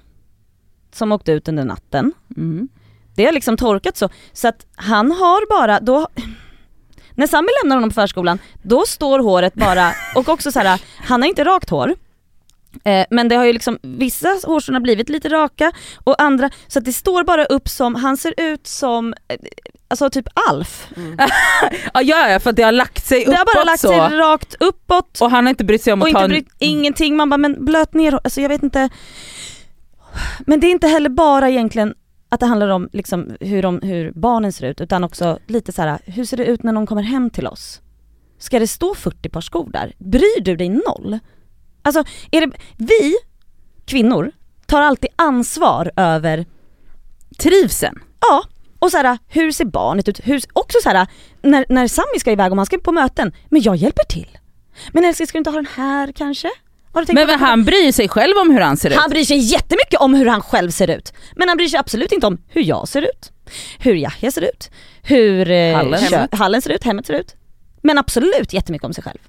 A: som åkte ut under natten.
B: Mm.
A: Det har liksom torkat så. Så att han har bara, då... När Sami lämnar honom på förskolan, då står håret bara, och också så här, han har inte rakt hår. Eh, men det har ju liksom, vissa hårstrån har blivit lite raka och andra, så att det står bara upp som, han ser ut som, eh, alltså typ Alf.
B: Ja, ja ja, för att det har lagt sig
A: Det
B: uppåt
A: har bara lagt
B: så.
A: sig rakt uppåt
B: Och han har inte brytt sig om
A: och
B: att ta
A: inte
B: en... Mm.
A: brytt, ingenting. Man bara, men blöt ner alltså jag vet inte. Men det är inte heller bara egentligen att det handlar om liksom hur, de, hur barnen ser ut utan också lite så här, hur ser det ut när någon kommer hem till oss? Ska det stå 40 par skor där? Bryr du dig noll? Alltså, är det, vi kvinnor tar alltid ansvar över
B: Trivseln.
A: Ja, och så här, hur ser barnet ut? Hur, också så här, när, när Sami ska iväg och han ska på möten, men jag hjälper till. Men älskling ska du inte ha den här kanske? Har du tänkt
B: Men,
A: på
B: men
A: det?
B: han bryr sig själv om hur han ser ut.
A: han bryr sig jättemycket om hur han själv ser ut. Men han bryr sig absolut inte om hur jag ser ut, hur Yahya ser ut, hur eh,
B: Hallen.
A: kö-
B: Hemmet.
A: hallen ser ut, hemmet ser ut. Men absolut jättemycket om sig själv.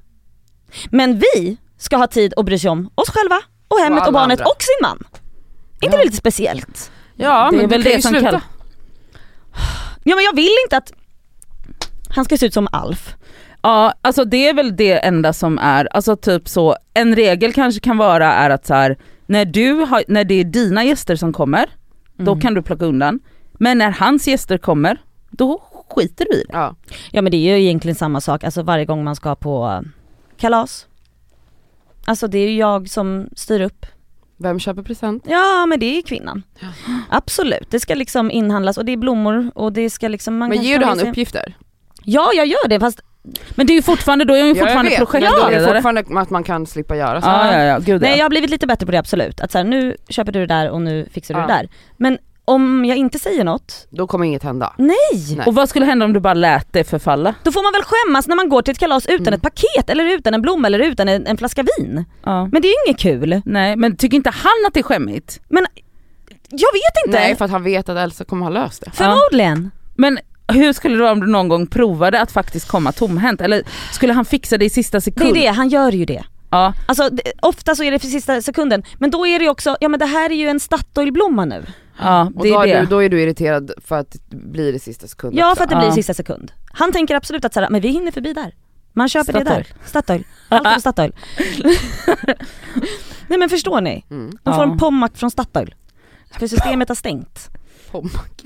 A: Men vi ska ha tid att bry sig om oss själva och hemmet och,
C: alla
A: barnet
C: andra.
A: och sin man. Inte det lite speciellt?
C: Ja
B: det är
C: men
B: väl
C: du kan
B: det
C: ju
B: som
C: sluta.
B: kallas...
A: Ja men jag vill inte att han ska se ut som Alf.
B: Ja, alltså det är väl det enda som är, alltså typ så, en regel kanske kan vara är att så här, när, du har, när det är dina gäster som kommer,
A: Mm.
B: då kan du plocka undan. Men när hans gäster kommer, då skiter vi i det.
C: Ja.
A: Ja men det är ju egentligen samma sak, alltså varje gång man ska på eh, kalas. Alltså det är ju jag som styr upp.
C: Vem köper present?
A: Ja men det är kvinnan.
C: Ja.
A: Absolut, det ska liksom inhandlas och det är blommor och det ska liksom... Man
C: Men
A: kanske
C: ger
A: tar
C: du
A: med
C: han
A: sig-
C: uppgifter?
A: Ja jag gör det fast
B: Men det är ju fortfarande, då är hon ju fortfarande
C: jag vet, men då är det
B: projektledare.
C: fortfarande att man kan slippa göra så.
B: Ja, ja, ja, gud
A: nej
B: ja.
A: jag har blivit lite bättre på det absolut. Att så här, nu köper du det där och nu fixar du
C: Ja.
A: det där. Men om jag inte säger något,
C: Då kommer inget hända.
A: nej!
C: Nej.
B: Och vad skulle hända om du bara lät det förfalla?
A: Då får man väl skämmas när man går till ett kalas utan
C: Mm.
A: ett paket eller utan en blomma eller utan en, en flaska vin.
B: Ja.
A: Men det är ju inget kul.
B: Nej men tycker inte han att det är skämmigt?
A: Jag vet inte!
C: Nej för att han vet att Elsa kommer ha löst det.
A: Förmodligen.
B: Men hur skulle det vara om du någon gång provade att faktiskt komma tomhänt? Eller skulle han fixa det i sista
A: Det
B: sekund?
A: är det, han gör ju det.
B: Ja.
A: Alltså det, ofta så är det för sista sekunden, men då är det ju också, ja men det här är ju en Statoilblomma nu.
B: Ja,
C: Mm. Och
B: det
C: då,
B: är
C: är
B: det.
C: Du, då är du irriterad för att det blir i sista sekunden
A: Ja
C: också.
A: för att det blir
B: Ja.
A: sista sekund. Han tänker absolut att så här, men vi hinner förbi där. Man köper det där.
B: Statoil.
A: Statoil. Allt från Statoil. Nej men förstår ni?
C: Mm.
A: De får
B: Ja.
A: en pommack från Statoil. För systemet har stängt.
C: Pommack.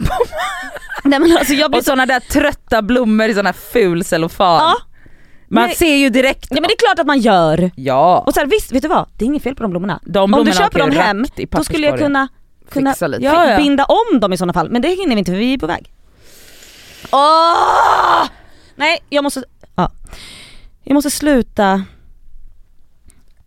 A: Nej men alltså jag blir
B: Och
A: så...
B: sådana där trötta blommor i sån här ful cellofan.
A: Ja,
B: Man
A: nej.
B: ser ju direkt.
A: ja men det är klart att man gör.
B: Ja.
A: Och så här, visst, vet du vad? Det är inget fel på de blommorna.
B: De blommorna
A: Om du köper
B: åker
A: dem
B: rakt
A: hem,
B: i
A: då skulle jag
B: papperskorgen.
A: kunna, kunna
C: Fixa lite.
B: Ja, ja.
A: binda om dem i sådana fall. Men det hinner vi inte för vi är på väg. Åh! Nej, jag måste... Ja. Jag måste sluta...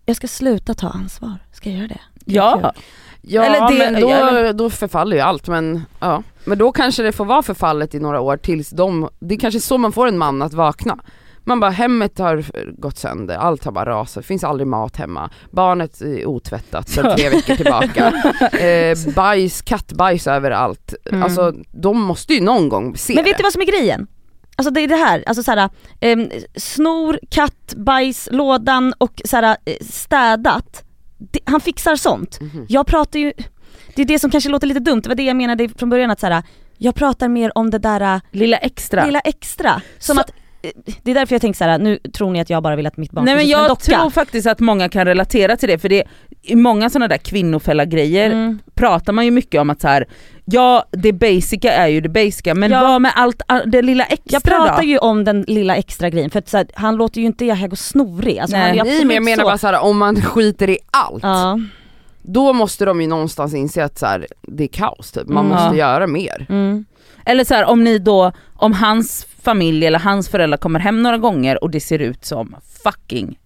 A: Jag ska sluta ta ansvar. Ska jag göra det?
B: Ja.
C: Ja
B: Eller det-
C: men då,
B: eller-
C: då förfaller ju allt men ja. Men då kanske det får vara förfallet i några år tills de, det är kanske så man får en man att vakna. Man bara hemmet har gått sönder, allt har bara rasat, finns aldrig mat hemma, barnet är otvättat sedan tre veckor tillbaka, eh, bajs, kattbajs överallt.
B: Mm.
C: Alltså de måste ju någon gång se
A: Men
C: det.
A: vet du vad som är grejen? Alltså det är det här, alltså såhär, um, snor, katt, bajs, lådan och såhär eh, städat. Det, han fixar sånt.
C: Mhm.
A: Jag pratar ju, det är det som kanske låter lite dumt, det var det jag menade från början att såhär, jag pratar mer om det där eh,
B: Lilla extra.
A: lilla extra. Som
B: Så-
A: att, eh, det är därför jag tänker såhär, nu tror ni att jag bara vill att mitt barn
B: Nej
A: ska
B: men
A: se ut som en
B: jag
A: docka.
B: tror faktiskt att många kan relatera till det för det i många sådana där kvinnofälla grejer
A: Mm.
B: pratar man ju mycket om att så här, ja det basica är ju det basica men
A: Ja.
B: vad med allt a- det lilla extra
A: Jag pratar
B: då?
A: ju om den lilla extra grejen för att så här, han låter ju inte Yahya gå snorig. Alltså,
B: Nej.
A: han är ju
C: Nej men jag
A: absolut
C: menar
A: så.
C: bara såhär om man skiter i allt,
A: Ja.
C: då måste de ju någonstans inse att så här, det är kaos typ, man
A: Mm.
B: Ja.
C: måste göra mer.
A: Mm.
B: Eller så här, om ni då, om hans familj eller hans föräldrar kommer hem några gånger och det ser ut som fucking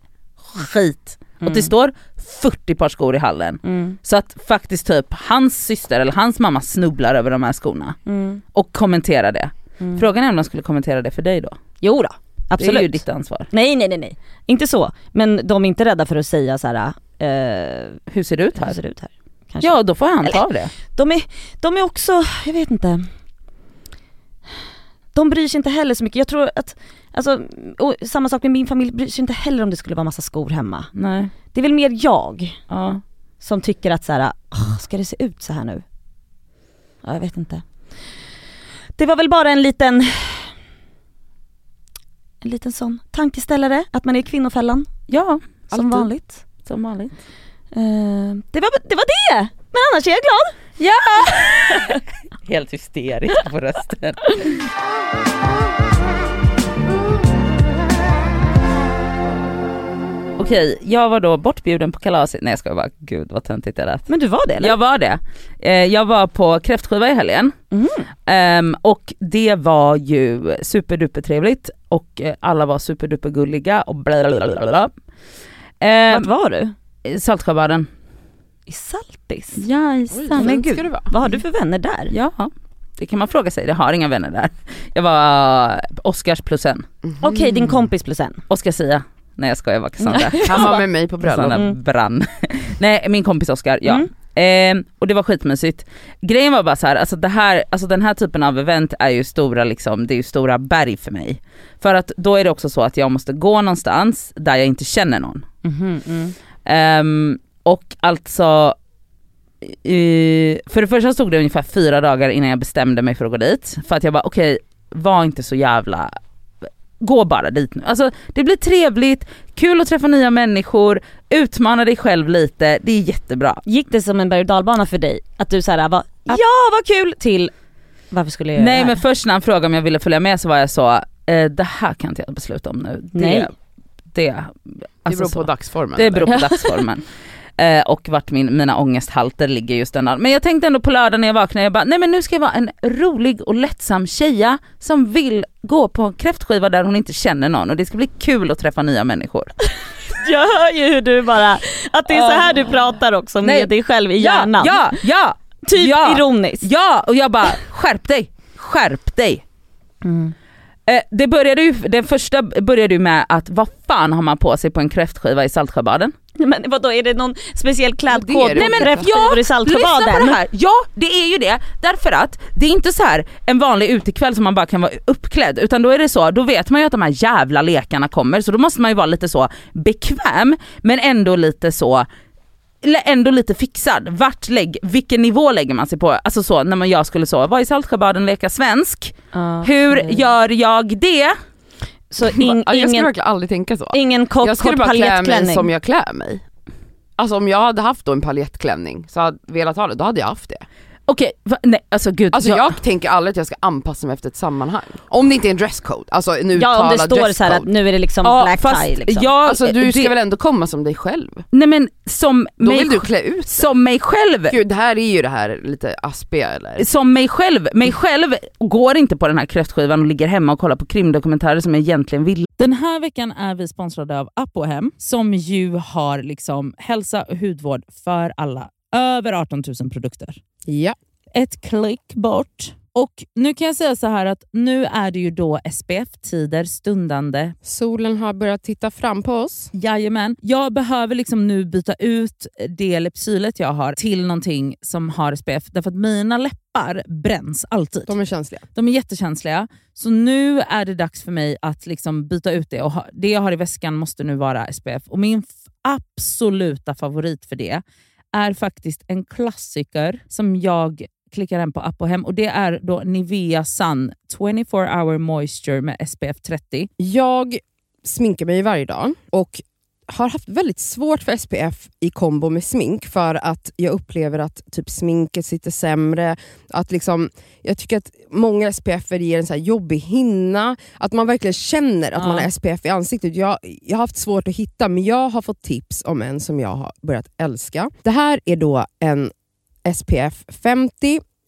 B: skit och det står 40 par skor i hallen.
A: Mm.
B: Så att faktiskt typ hans syster eller hans mamma snubblar över de här skorna
A: Mm.
B: och kommenterar det.
A: Mm.
B: Frågan är om de skulle kommentera det för dig då?
A: Jo då, absolut.
B: Det är ju ditt ansvar.
A: Nej nej nej nej, inte så. Men de är inte rädda för att säga så här. eh,
B: Hur ser det ut
A: hur
B: här?
A: ser det ut här? Kanske.
B: Ja då får han ta det.
A: De, är, de är också, jag vet inte. De bryr sig inte heller så mycket. Jag tror att, alltså, och samma sak med min familj, bryr sig inte heller om det skulle vara massa skor hemma.
B: Nej.
A: Det är väl mer jag.
B: Ja.
A: som tycker att så här, "Ah, ska det se ut så här nu? Ja, jag vet inte. Det var väl bara en liten, en liten sån tankeställare, att man är i kvinnofällan
B: Ja,
A: som
C: Alltid.
A: vanligt.
B: som vanligt.
A: Eh, det, var, det var det! Men annars är jag glad.
B: Helt hysterisk på rösten. Okej, jag var då bortbjuden på kalaset. Nej jag skojar bara, gud vad töntigt det lät.
A: Men du var det eller?
B: Jag var det. Eh, Jag var på kräftskiva i helgen
A: Mm.
B: Ehm, och det var ju superduper trevligt och eh, alla var superduper gulliga och bla bla bla bla. Ehm,
A: Vart var du?
B: Saltsjöbaden.
A: I Saltis?
C: Oj,
B: Jajsan.
C: vad
A: men
C: fint
A: gud.
C: ska det vara.
A: Vad har du för vänner där?
B: Ja, det kan man fråga sig. Jag har inga vänner där. Jag var Oscars plus en.
A: Okej, din kompis plus en.
B: Oscar Sia. Nej jag skojar, jag var Cassandra.
C: Han var med mig på bröllop.
B: Cassandra
A: Mm.
B: brann. Nej min kompis Oscar, ja.
A: Mm.
B: Ehm, och det var skitmysigt. Grejen var bara så här, alltså, det här, alltså den här typen av event är ju stora liksom, det är ju stora berg för mig. För att då är det också så att jag måste gå någonstans där jag inte känner någon. Ehm, och alltså, eh, för det första stod det ungefär fyra dagar innan jag bestämde mig för att gå dit. För att jag bara okej, var inte så jävla, gå bara dit nu. Alltså det blir trevligt, kul att träffa nya människor, utmana dig själv lite, det är jättebra.
A: Gick det som en berg och dalbana för dig? Att du såhär var
B: Ab-
A: ja vad kul till varför skulle jag
B: Eh, Nej
A: göra
B: men
A: det
B: först när han frågade om jag ville följa med så var jag så, eh, det här kan inte jag besluta om nu. Det,
A: Nej.
B: Det,
C: Det
B: alltså
C: beror på
B: så.
C: dagsformen.
B: Det beror på
A: eller?
B: dagsformen. Eh, och vart min, mina ångesthalter ligger just den dagen. Men jag tänkte ändå på lördag när jag vaknade, jag bara nej men nu ska jag vara en rolig och lättsam tjeja som vill gå på en kräftskiva där hon inte känner någon och det ska bli kul att träffa nya människor.
A: här?" Jag hör ju hur du bara, att det är så här du pratar också med
B: Nej.
A: dig själv i hjärnan.
B: Ja, ja, ja,
A: typ
B: ja.
A: ironiskt.
B: ja! Och jag bara skärp dig, skärp dig.
A: Mm.
B: Eh, det började ju, den första började ju med att vad fan har man på sig på en kräftskiva i Saltsjöbaden?
A: Men vadå är det någon speciell
C: Det
A: klädkod?
C: är det
A: Nej men
C: inte.
A: kräftskivor i
B: Lyssna på det
A: Saltsjöbaden.
B: här! Ja det är ju det, därför att det är inte så här en vanlig utekväll som man bara kan vara uppklädd utan då är det så, då vet man ju att de här jävla lekarna kommer så då måste man ju vara lite så bekväm men ändå lite så eller ändå lite fixad. Vart lägg, vilken nivå lägger man sig på? Alltså så när man, jag skulle så, vara i Saltsjöbaden leka svensk.
A: Ja,
B: Hur
A: okej.
B: gör jag det?
A: Så in,
C: Ja, jag skulle
A: ingen,
C: verkligen aldrig tänka så.
A: ingen kort,
C: jag skulle
A: kort
C: bara klä mig
A: paljettklänning?
C: som jag klär mig. Alltså om jag hade haft då en paljettklänning, så hade velat ha det, då hade jag haft det.
B: Okej, va- nej alltså gud.
C: Alltså
B: jag-
C: jag, tänker aldrig att jag ska anpassa mig efter ett sammanhang. Om det inte är en dresscode, alltså en uttalad
A: Ja om det står så här att
C: dresscode.
A: nu är det liksom
B: Ja,
A: black
B: fast
A: tie liksom.
B: jag-
C: Alltså du ska
B: det-
C: väl ändå komma som dig själv?
B: Nej men som
C: Då
B: mig,
C: vill du klä ut
B: som mig själv.
C: Gud, det här är ju det här lite aspiga eller?
B: som mig själv, mig själv går inte på den här kräftskivan och ligger hemma och kollar på krimdokumentärer som jag egentligen vill. Den här veckan är vi sponsrade av Apohem som ju har liksom hälsa och hudvård för alla. Över 18 000 produkter
C: Ja.
B: ett klick bort. Och nu kan jag säga så här att nu är det ju då SPF-tider stundande.
D: Solen har börjat titta fram på oss.
B: Jajamän. Jag behöver liksom nu byta ut det läppsylet jag har till någonting som har SPF därför att mina läppar bränns alltid.
D: De är känsliga.
B: De är jättekänsliga. Så nu är det dags för mig att liksom byta ut det. Och ha, det jag har i väskan måste nu vara SPF. Och Min f- absoluta favorit för det är faktiskt en klassiker som jag klickar hem på app och hem. Och Det är då Nivea Sun 24 hour moisture med SPF 30.
D: Jag sminkar mig varje dag och har haft väldigt svårt för SPF i kombo med smink för att jag upplever att typ sminket sitter sämre. Att liksom, jag tycker att många SPF ger en så här jobbig hinna. Att man verkligen känner att
B: Ja.
D: man har SPF i ansiktet. Jag, jag har haft svårt att hitta men jag har fått tips om en som jag har börjat älska. Det här är då en SPF 50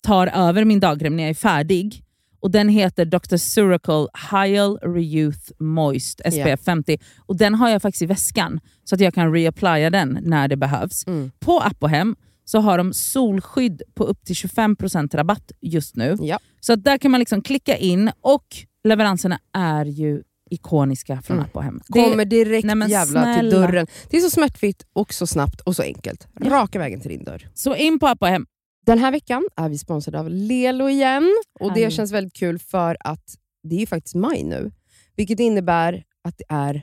B: tar över min dagkräm när jag är färdig. Och Den heter Dr. Suracle Hyal Reyouth Moist SPF
D: Ja.
B: 50. Och Den har jag faktiskt i väskan så att jag kan reapplya den när det behövs.
D: Mm.
B: På app och hem så har de solskydd på upp till 25% rabatt just nu.
C: Ja.
B: Så att där kan man liksom klicka in och leveranserna är ju ikoniska från
C: Mm.
B: App och hem. Det-
C: Kommer direkt
B: Nej, men
C: jävla till
B: snälla.
C: dörren. Det är så smärtfritt och så snabbt och så enkelt.
B: Ja.
C: Raka vägen till din dörr.
B: Så in på App och hem.
C: Den här veckan är vi sponsrade av Lelo igen. Och Det
B: Härligt.
C: känns väldigt kul för att det är ju faktiskt maj nu. Vilket innebär att det är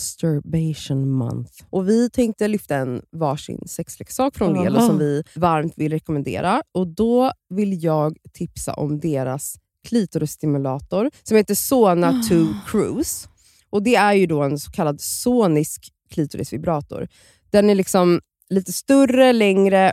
C: masturbation month. Och Vi tänkte lyfta en varsin sexleksak från
B: Aha.
C: Lelo som vi varmt vill rekommendera. Och Då vill jag tipsa om deras klitorisstimulator som heter Sona 2 Cruise. Och Det är ju då en så kallad sonisk klitorisvibrator. Den är liksom lite större, längre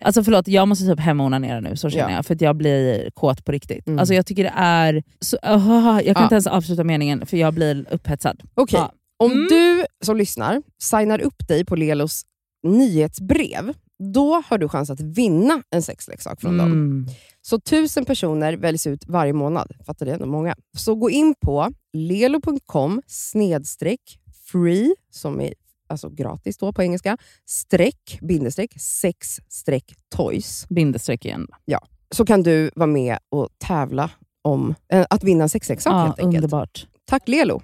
B: Alltså förlåt, jag måste typ hem och onanera nu, så känner
C: Ja.
B: jag, för att jag blir kåt på riktigt.
C: Mm.
B: Alltså jag tycker det är... Så, ah, jag kan
C: Ja.
B: inte ens avsluta meningen, för jag blir upphetsad.
C: Okej,
B: Ja.
C: om
B: Mm.
C: du som lyssnar signar upp dig på Lelos nyhetsbrev, då har du chans att vinna en sexleksak från dem.
B: Mm.
C: Så tusen personer väljs ut varje månad. Fattar det? Det är många. Så gå in på lelo.com snedstreck free, som är alltså gratis då på engelska, streck, bindestreck, sex streck toys.
B: Bindestreck igen.
C: Så kan du vara med och tävla om eh, att vinna en sexleksak
B: Ja,
C: helt enkelt.
B: underbart.
C: Tack Lelo!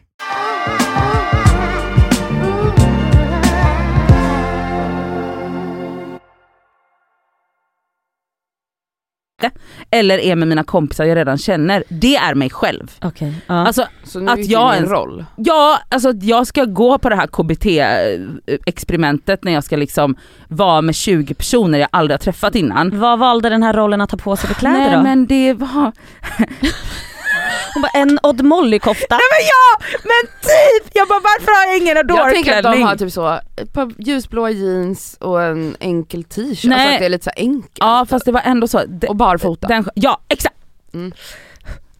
B: eller är med mina kompisar jag redan känner, det är mig själv.
A: Okej, ja.
B: Alltså,
E: Så nu
B: Att
E: gick
B: jag
E: jag en
B: ens-
E: roll.
B: ja, alltså att jag ska gå på det här KBT-experimentet eh, när jag ska liksom vara med 20 personer jag aldrig har träffat innan.
A: vad valde den här rollen att ta på sig för kläder
B: Nej
A: då?
B: men det var...
A: Hon bara, en Odd Molly-kofta.
B: Nej men ja! Men typ! Jag bara varför har jag ingen
E: Jag tänker att de
B: Adore-klänning?
E: har typ så, ett par ljusblåa jeans och en enkel t-shirt.
B: Nej.
E: Alltså att det är lite så här enkelt.
B: Ja fast det var ändå så. Det-
E: Och barfota.
B: Den, ja, exakt.
E: Mm.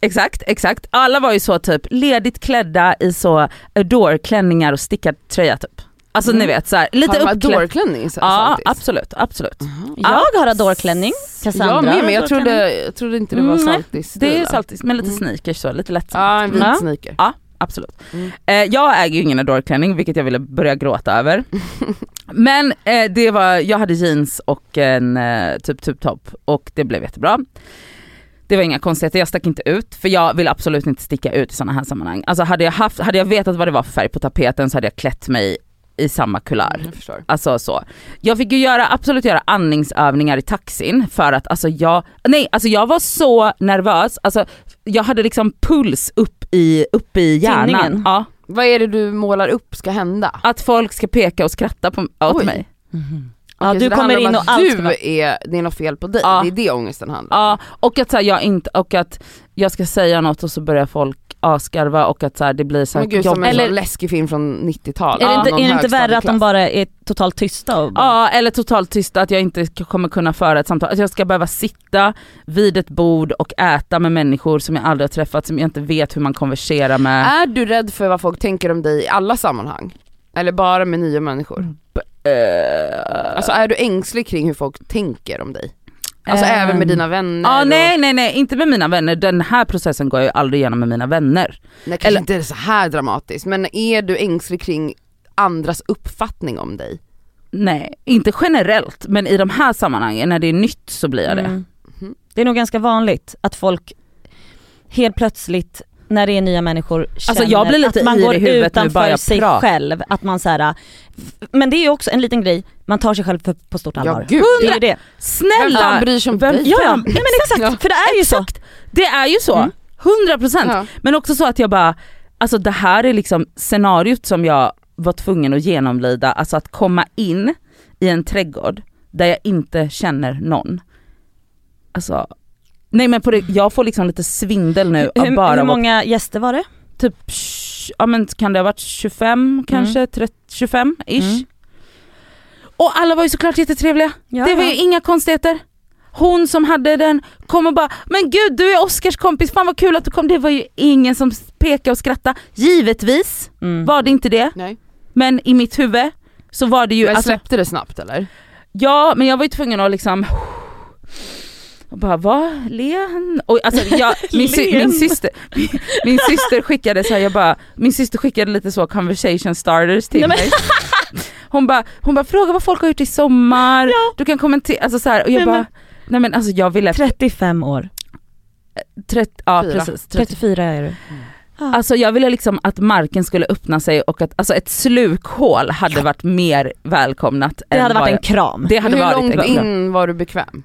B: Exakt, exakt. Alla var ju så typ ledigt klädda i så Adore-klänningar och stickad tröja typ. Alltså
E: Mm.
B: ni vet såhär, lite
E: Har de
B: uppklädd.
E: Adore-klänning så-
B: Ja
E: samtidigt?
B: absolut, absolut.
E: Aha.
A: Jag har Adore-klänning. Cassandra
E: Jag med men jag
A: har Adore-klänning.
E: trodde, jag trodde inte det var
B: Mm, nej.
E: saltis.
B: Det är saltis, men lite
E: Mm.
B: sneakers så, lite lättsamt.
E: Ja en vit Mm.
B: Ja.
E: sneaker.
B: Absolut.
E: Mm.
B: Eh, jag äger ju ingen Adore-klänning vilket jag ville börja gråta över. men eh, det var, jag hade jeans och en eh, typ tubtopp och det blev jättebra. Det var inga konstigheter, jag stack inte ut för jag vill absolut inte sticka ut i sådana här sammanhang. Alltså hade jag, haft, hade jag vetat vad det var för färg på tapeten så hade jag klätt mig i samma kulör.
E: Mm, jag förstår.
B: Alltså så. Jag fick ju göra, absolut göra andningsövningar i taxin för att alltså jag, nej alltså jag var så nervös, alltså jag hade liksom puls upp i, upp i hjärnan.
A: Tinningen.
B: Ja,
E: Vad är det du målar upp ska hända?
B: att folk ska peka och skratta på, åt
E: Oj.
B: mig.
A: Mhm. Ja,
E: Okej, så
A: du
E: det
A: kommer
E: handlar om
A: in och
E: att
A: allt ska
E: du
A: vara-
E: är, det är något fel på dig,
B: Ja.
E: det är det ångesten handlar om.
B: Ja, och att så här, jag inte, och att jag ska säga något och så börjar folk asgarva och att så här, det blir så här
E: Men gud som en
B: jobbigt.
E: eller,
A: Eller-
E: läskig film från 90-talet.
A: Är det inte,
E: Någon
A: är det inte värre att de
E: högstadieklass.
A: bara är totalt tysta och bara,
B: Ja eller totalt tysta, att jag inte k- kommer kunna föra ett samtal. Att jag ska behöva sitta vid ett bord och äta med människor som jag aldrig har träffat, som jag inte vet hur man konverserar med.
E: Är du rädd för vad folk tänker om dig i alla sammanhang? Eller bara med nya människor?
B: Eh,
E: Alltså är du ängslig kring hur folk tänker om dig? Alltså
B: Ehm.
E: även med dina vänner?
B: Ja
E: och-
B: nej nej nej, inte med mina vänner. Den här processen går jag ju aldrig igenom med mina vänner.
E: Nej kanske
B: eller-
E: inte är så här dramatiskt, men är du ängslig kring andras uppfattning om dig?
B: Nej, inte generellt men i de här sammanhangen när det är nytt så blir jag det.
A: Mm.
E: Mhm.
A: Det är nog ganska vanligt att folk helt plötsligt när det är nya människor känner
B: jag blir lite
A: att man
B: yr i
A: går
B: huvudet nu bara
A: utanför
B: jag
A: sig
B: pratar.
A: själv. Att man så här, f- men det är ju också en liten grej, man tar sig själv på, på stort allvar.
E: gud.
A: det är ju det.
B: Snälla!
E: Vem fan bryr sig om dig?
A: Ja, ja.
E: Fan.
A: Nej, men exakt, för det är ju så.
B: Det är ju så.
A: Mm.
B: 100 procent.
C: Ja.
B: Men också så att jag bara, alltså det här är liksom scenariot som jag var tvungen att genomlida, alltså att komma in i en trädgård där jag inte känner någon. Alltså, nej men på det, jag får liksom lite svindel nu av
A: Hur,
B: bara
A: hur
B: att vara
A: många gäster var det?
B: typ, sh- ja men kan det ha varit 25 kanske, 30, 25 ish.
A: Mm.
B: Och alla var ju såklart jättetrevliga.
A: Ja,
B: det var
A: ja.
B: ju inga konstigheter. Hon som hade den kom och bara “men gud du är Oscars kompis, fan vad kul att du kom”. Det var ju ingen som pekade och skrattade. Givetvis
A: Mm.
B: var det inte det,
C: Nej.
B: men i mitt huvud så var det ju...
C: Men
B: alltså-
C: släppte det snabbt eller?
B: Ja men jag var ju tvungen att liksom och bara va? Len? Och alltså jag, min, sy-
A: Len.
B: min, syster, min, min syster skickade så här, jag bara, min syster skickade lite så conversation starters till
A: Nej, men-
B: mig. Hon bara, hon bara fråga vad folk har gjort i sommar, du kan kommentera, alltså så här, och jag
A: Nej,
B: bara,
A: men-
B: nej men alltså jag ville,
A: 35 år.
B: trett, ja
C: Fyra.
B: precis, trett,
A: 34 är du.
B: alltså jag ville liksom att marken skulle öppna sig och att, alltså ett slukhål hade varit mer välkomnat.
A: Det
B: än
A: hade
B: vad
A: varit en
B: jag-
A: kram.
B: det hade
C: Hur
B: varit
C: långt
B: en kram.
C: in var du bekväm?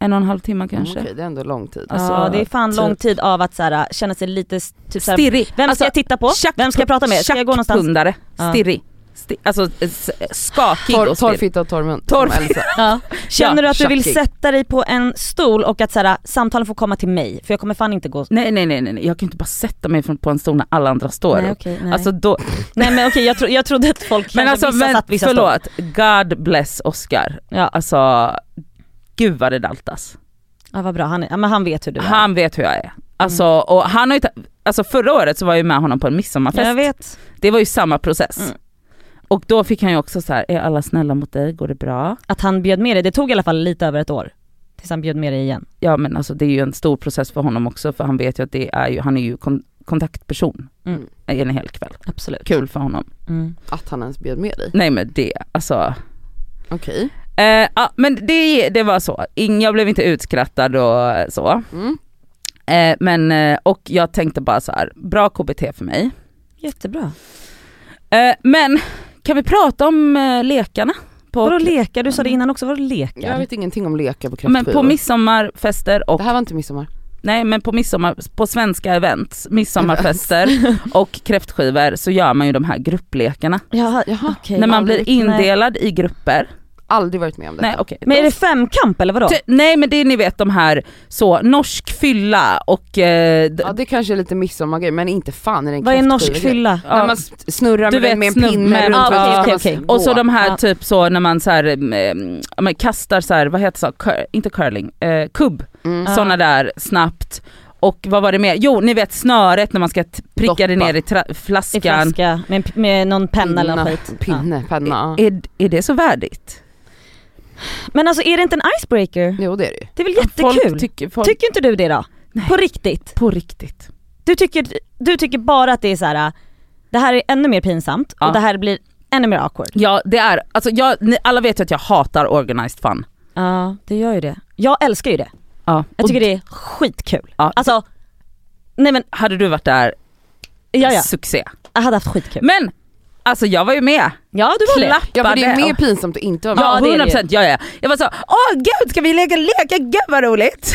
B: En och en halv timme kanske.
C: Mm, Okej, det är ändå lång tid.
B: Alltså,
A: ja det är fan
B: typ-
A: lång tid av att så här, äh, känna sig lite s- typ så här,
B: Stirrig.
A: Vem ska jag titta på? Vem ska jag prata med? Ska jag gå någonstans?
B: Pundare.
A: Ja.
B: Stirrig. Sti alltså s- skakig
C: Torr,
B: och
C: torr
B: stirrig.
C: fitta och torr mun.
B: Torr
C: Som Elsa.
A: Ja. Känner du att du vill
C: tjackig.
A: sätta dig på en stol och att så här, äh, samtalen får komma till mig? För jag kommer fan inte gå...
B: Nej, nej nej nej, nej. jag kan inte bara sätta mig från- på en stol när alla andra står
A: Nej
B: upp.
A: okej, nej.
B: Alltså då,
A: nej men okej jag, tro, jag trodde att folk
B: men
A: kanske
B: alltså
A: vissa
B: men,
A: satt vissa stol.
B: förlåt, God bless Oscar.
A: Ja.
B: Alltså gud vad det daltas.
A: Ja vad bra, han, är, ja, men han vet hur du är. Mm.
B: Han vet hur jag är. Alltså, och han har ju ta- alltså förra året så var jag ju med honom på en
A: Ja, jag
B: midsommarfest.
A: vet.
B: Det var ju samma process.
A: Mm.
B: Och då fick han ju också så här, är alla snälla mot dig, går det bra?
A: Att han bjöd med dig, det tog i alla fall lite över ett år. Tills han bjöd med dig igen.
B: ja men alltså det är ju en stor process för honom också för han vet ju att det är ju, han är ju kon- kontaktperson
A: Mm.
B: en hel kväll.
A: Absolut.
B: Kul för honom.
A: Mm.
C: Att han ens bjöd med dig.
B: Nej men det, alltså.
C: Okej.
B: Eh, ja, men det, det var så, In, jag blev inte utskrattad och så.
C: Mm.
B: Eh, men, eh, och jag tänkte bara så här, bra KBT för mig.
A: Jättebra.
B: Eh, men kan vi prata om eh, lekarna? På,
A: Vadå lekar? Du sa det innan också, vadå lekar?
C: Jag vet ingenting om lekar på
B: men
C: kräftskivor.
B: på midsommarfester och
C: Det här var inte midsommar.
B: Nej men på, midsommar, på svenska event, midsommarfester och kräftskivor så gör man ju de här grupplekarna.
A: Jaha,
C: Jaha.
A: okej.
B: När man
C: aldrig-
B: blir indelad i grupper.
C: Aldrig varit med om det.
B: Nej okej.
A: Men är det femkamp eller vadå?
B: Ty- Nej men det är ni vet de här så, norsk fylla och eh, d-
C: Ja det kanske är lite midsommargrej men inte fan är det en
A: Vad är norsk
C: kräftskivegrej.
A: fylla?
B: ja.
C: När man s- snurrar
B: Du
C: med,
B: vet,
C: med en
B: snubb- med-
C: pinne runt
A: Ja,
C: och så
A: okej,
C: ska
A: okej,
C: man
A: okej.
C: gå.
B: och så de här
A: Ja.
B: typ så när man så här, mm, mm, ja, men kastar så här, vad heter så, Cur- inte curling, eh, kubb.
C: Mm.
A: Ja.
B: Sådana där snabbt. Och vad var det mer? Jo ni vet snöret när man ska t- pricka det
C: Doppa.
B: ner i tra- flaskan.
A: I flaska, med, en p- med någon penna eller något
C: Pinna,
A: skit. Ja.
C: Pinne, penna. ja.
B: Är, är det så värdigt?
A: Men alltså är det inte en icebreaker?
C: Jo det är det ju.
A: Det är väl
B: Folk
A: jättekul?
B: tycker, folk,
A: tycker inte du det då?
B: Nej.
A: På riktigt?
B: på riktigt.
A: Du tycker, du tycker bara att det är så här. äh, det här är ännu mer pinsamt
B: Ja.
A: och det här blir ännu mer awkward.
B: Ja det är, alltså jag, ni, alla vet ju att jag hatar organized fun.
A: Ja det gör ju det. Jag älskar ju det.
B: Ja.
A: Jag
B: och
A: tycker det är skitkul.
B: Ja.
A: Alltså, nej men
B: hade du varit där,
A: ja, ja.
B: succé.
A: jag hade haft skitkul.
B: Men alltså jag var ju med.
A: ja du var det.
B: Klappade.
C: Ja för det är mer pinsamt att inte vara med.
B: Ja,
A: det är det ju.
B: 100 procent. Ja, ja. Jag var så, åh gud ska vi leka lekar, gud vad roligt.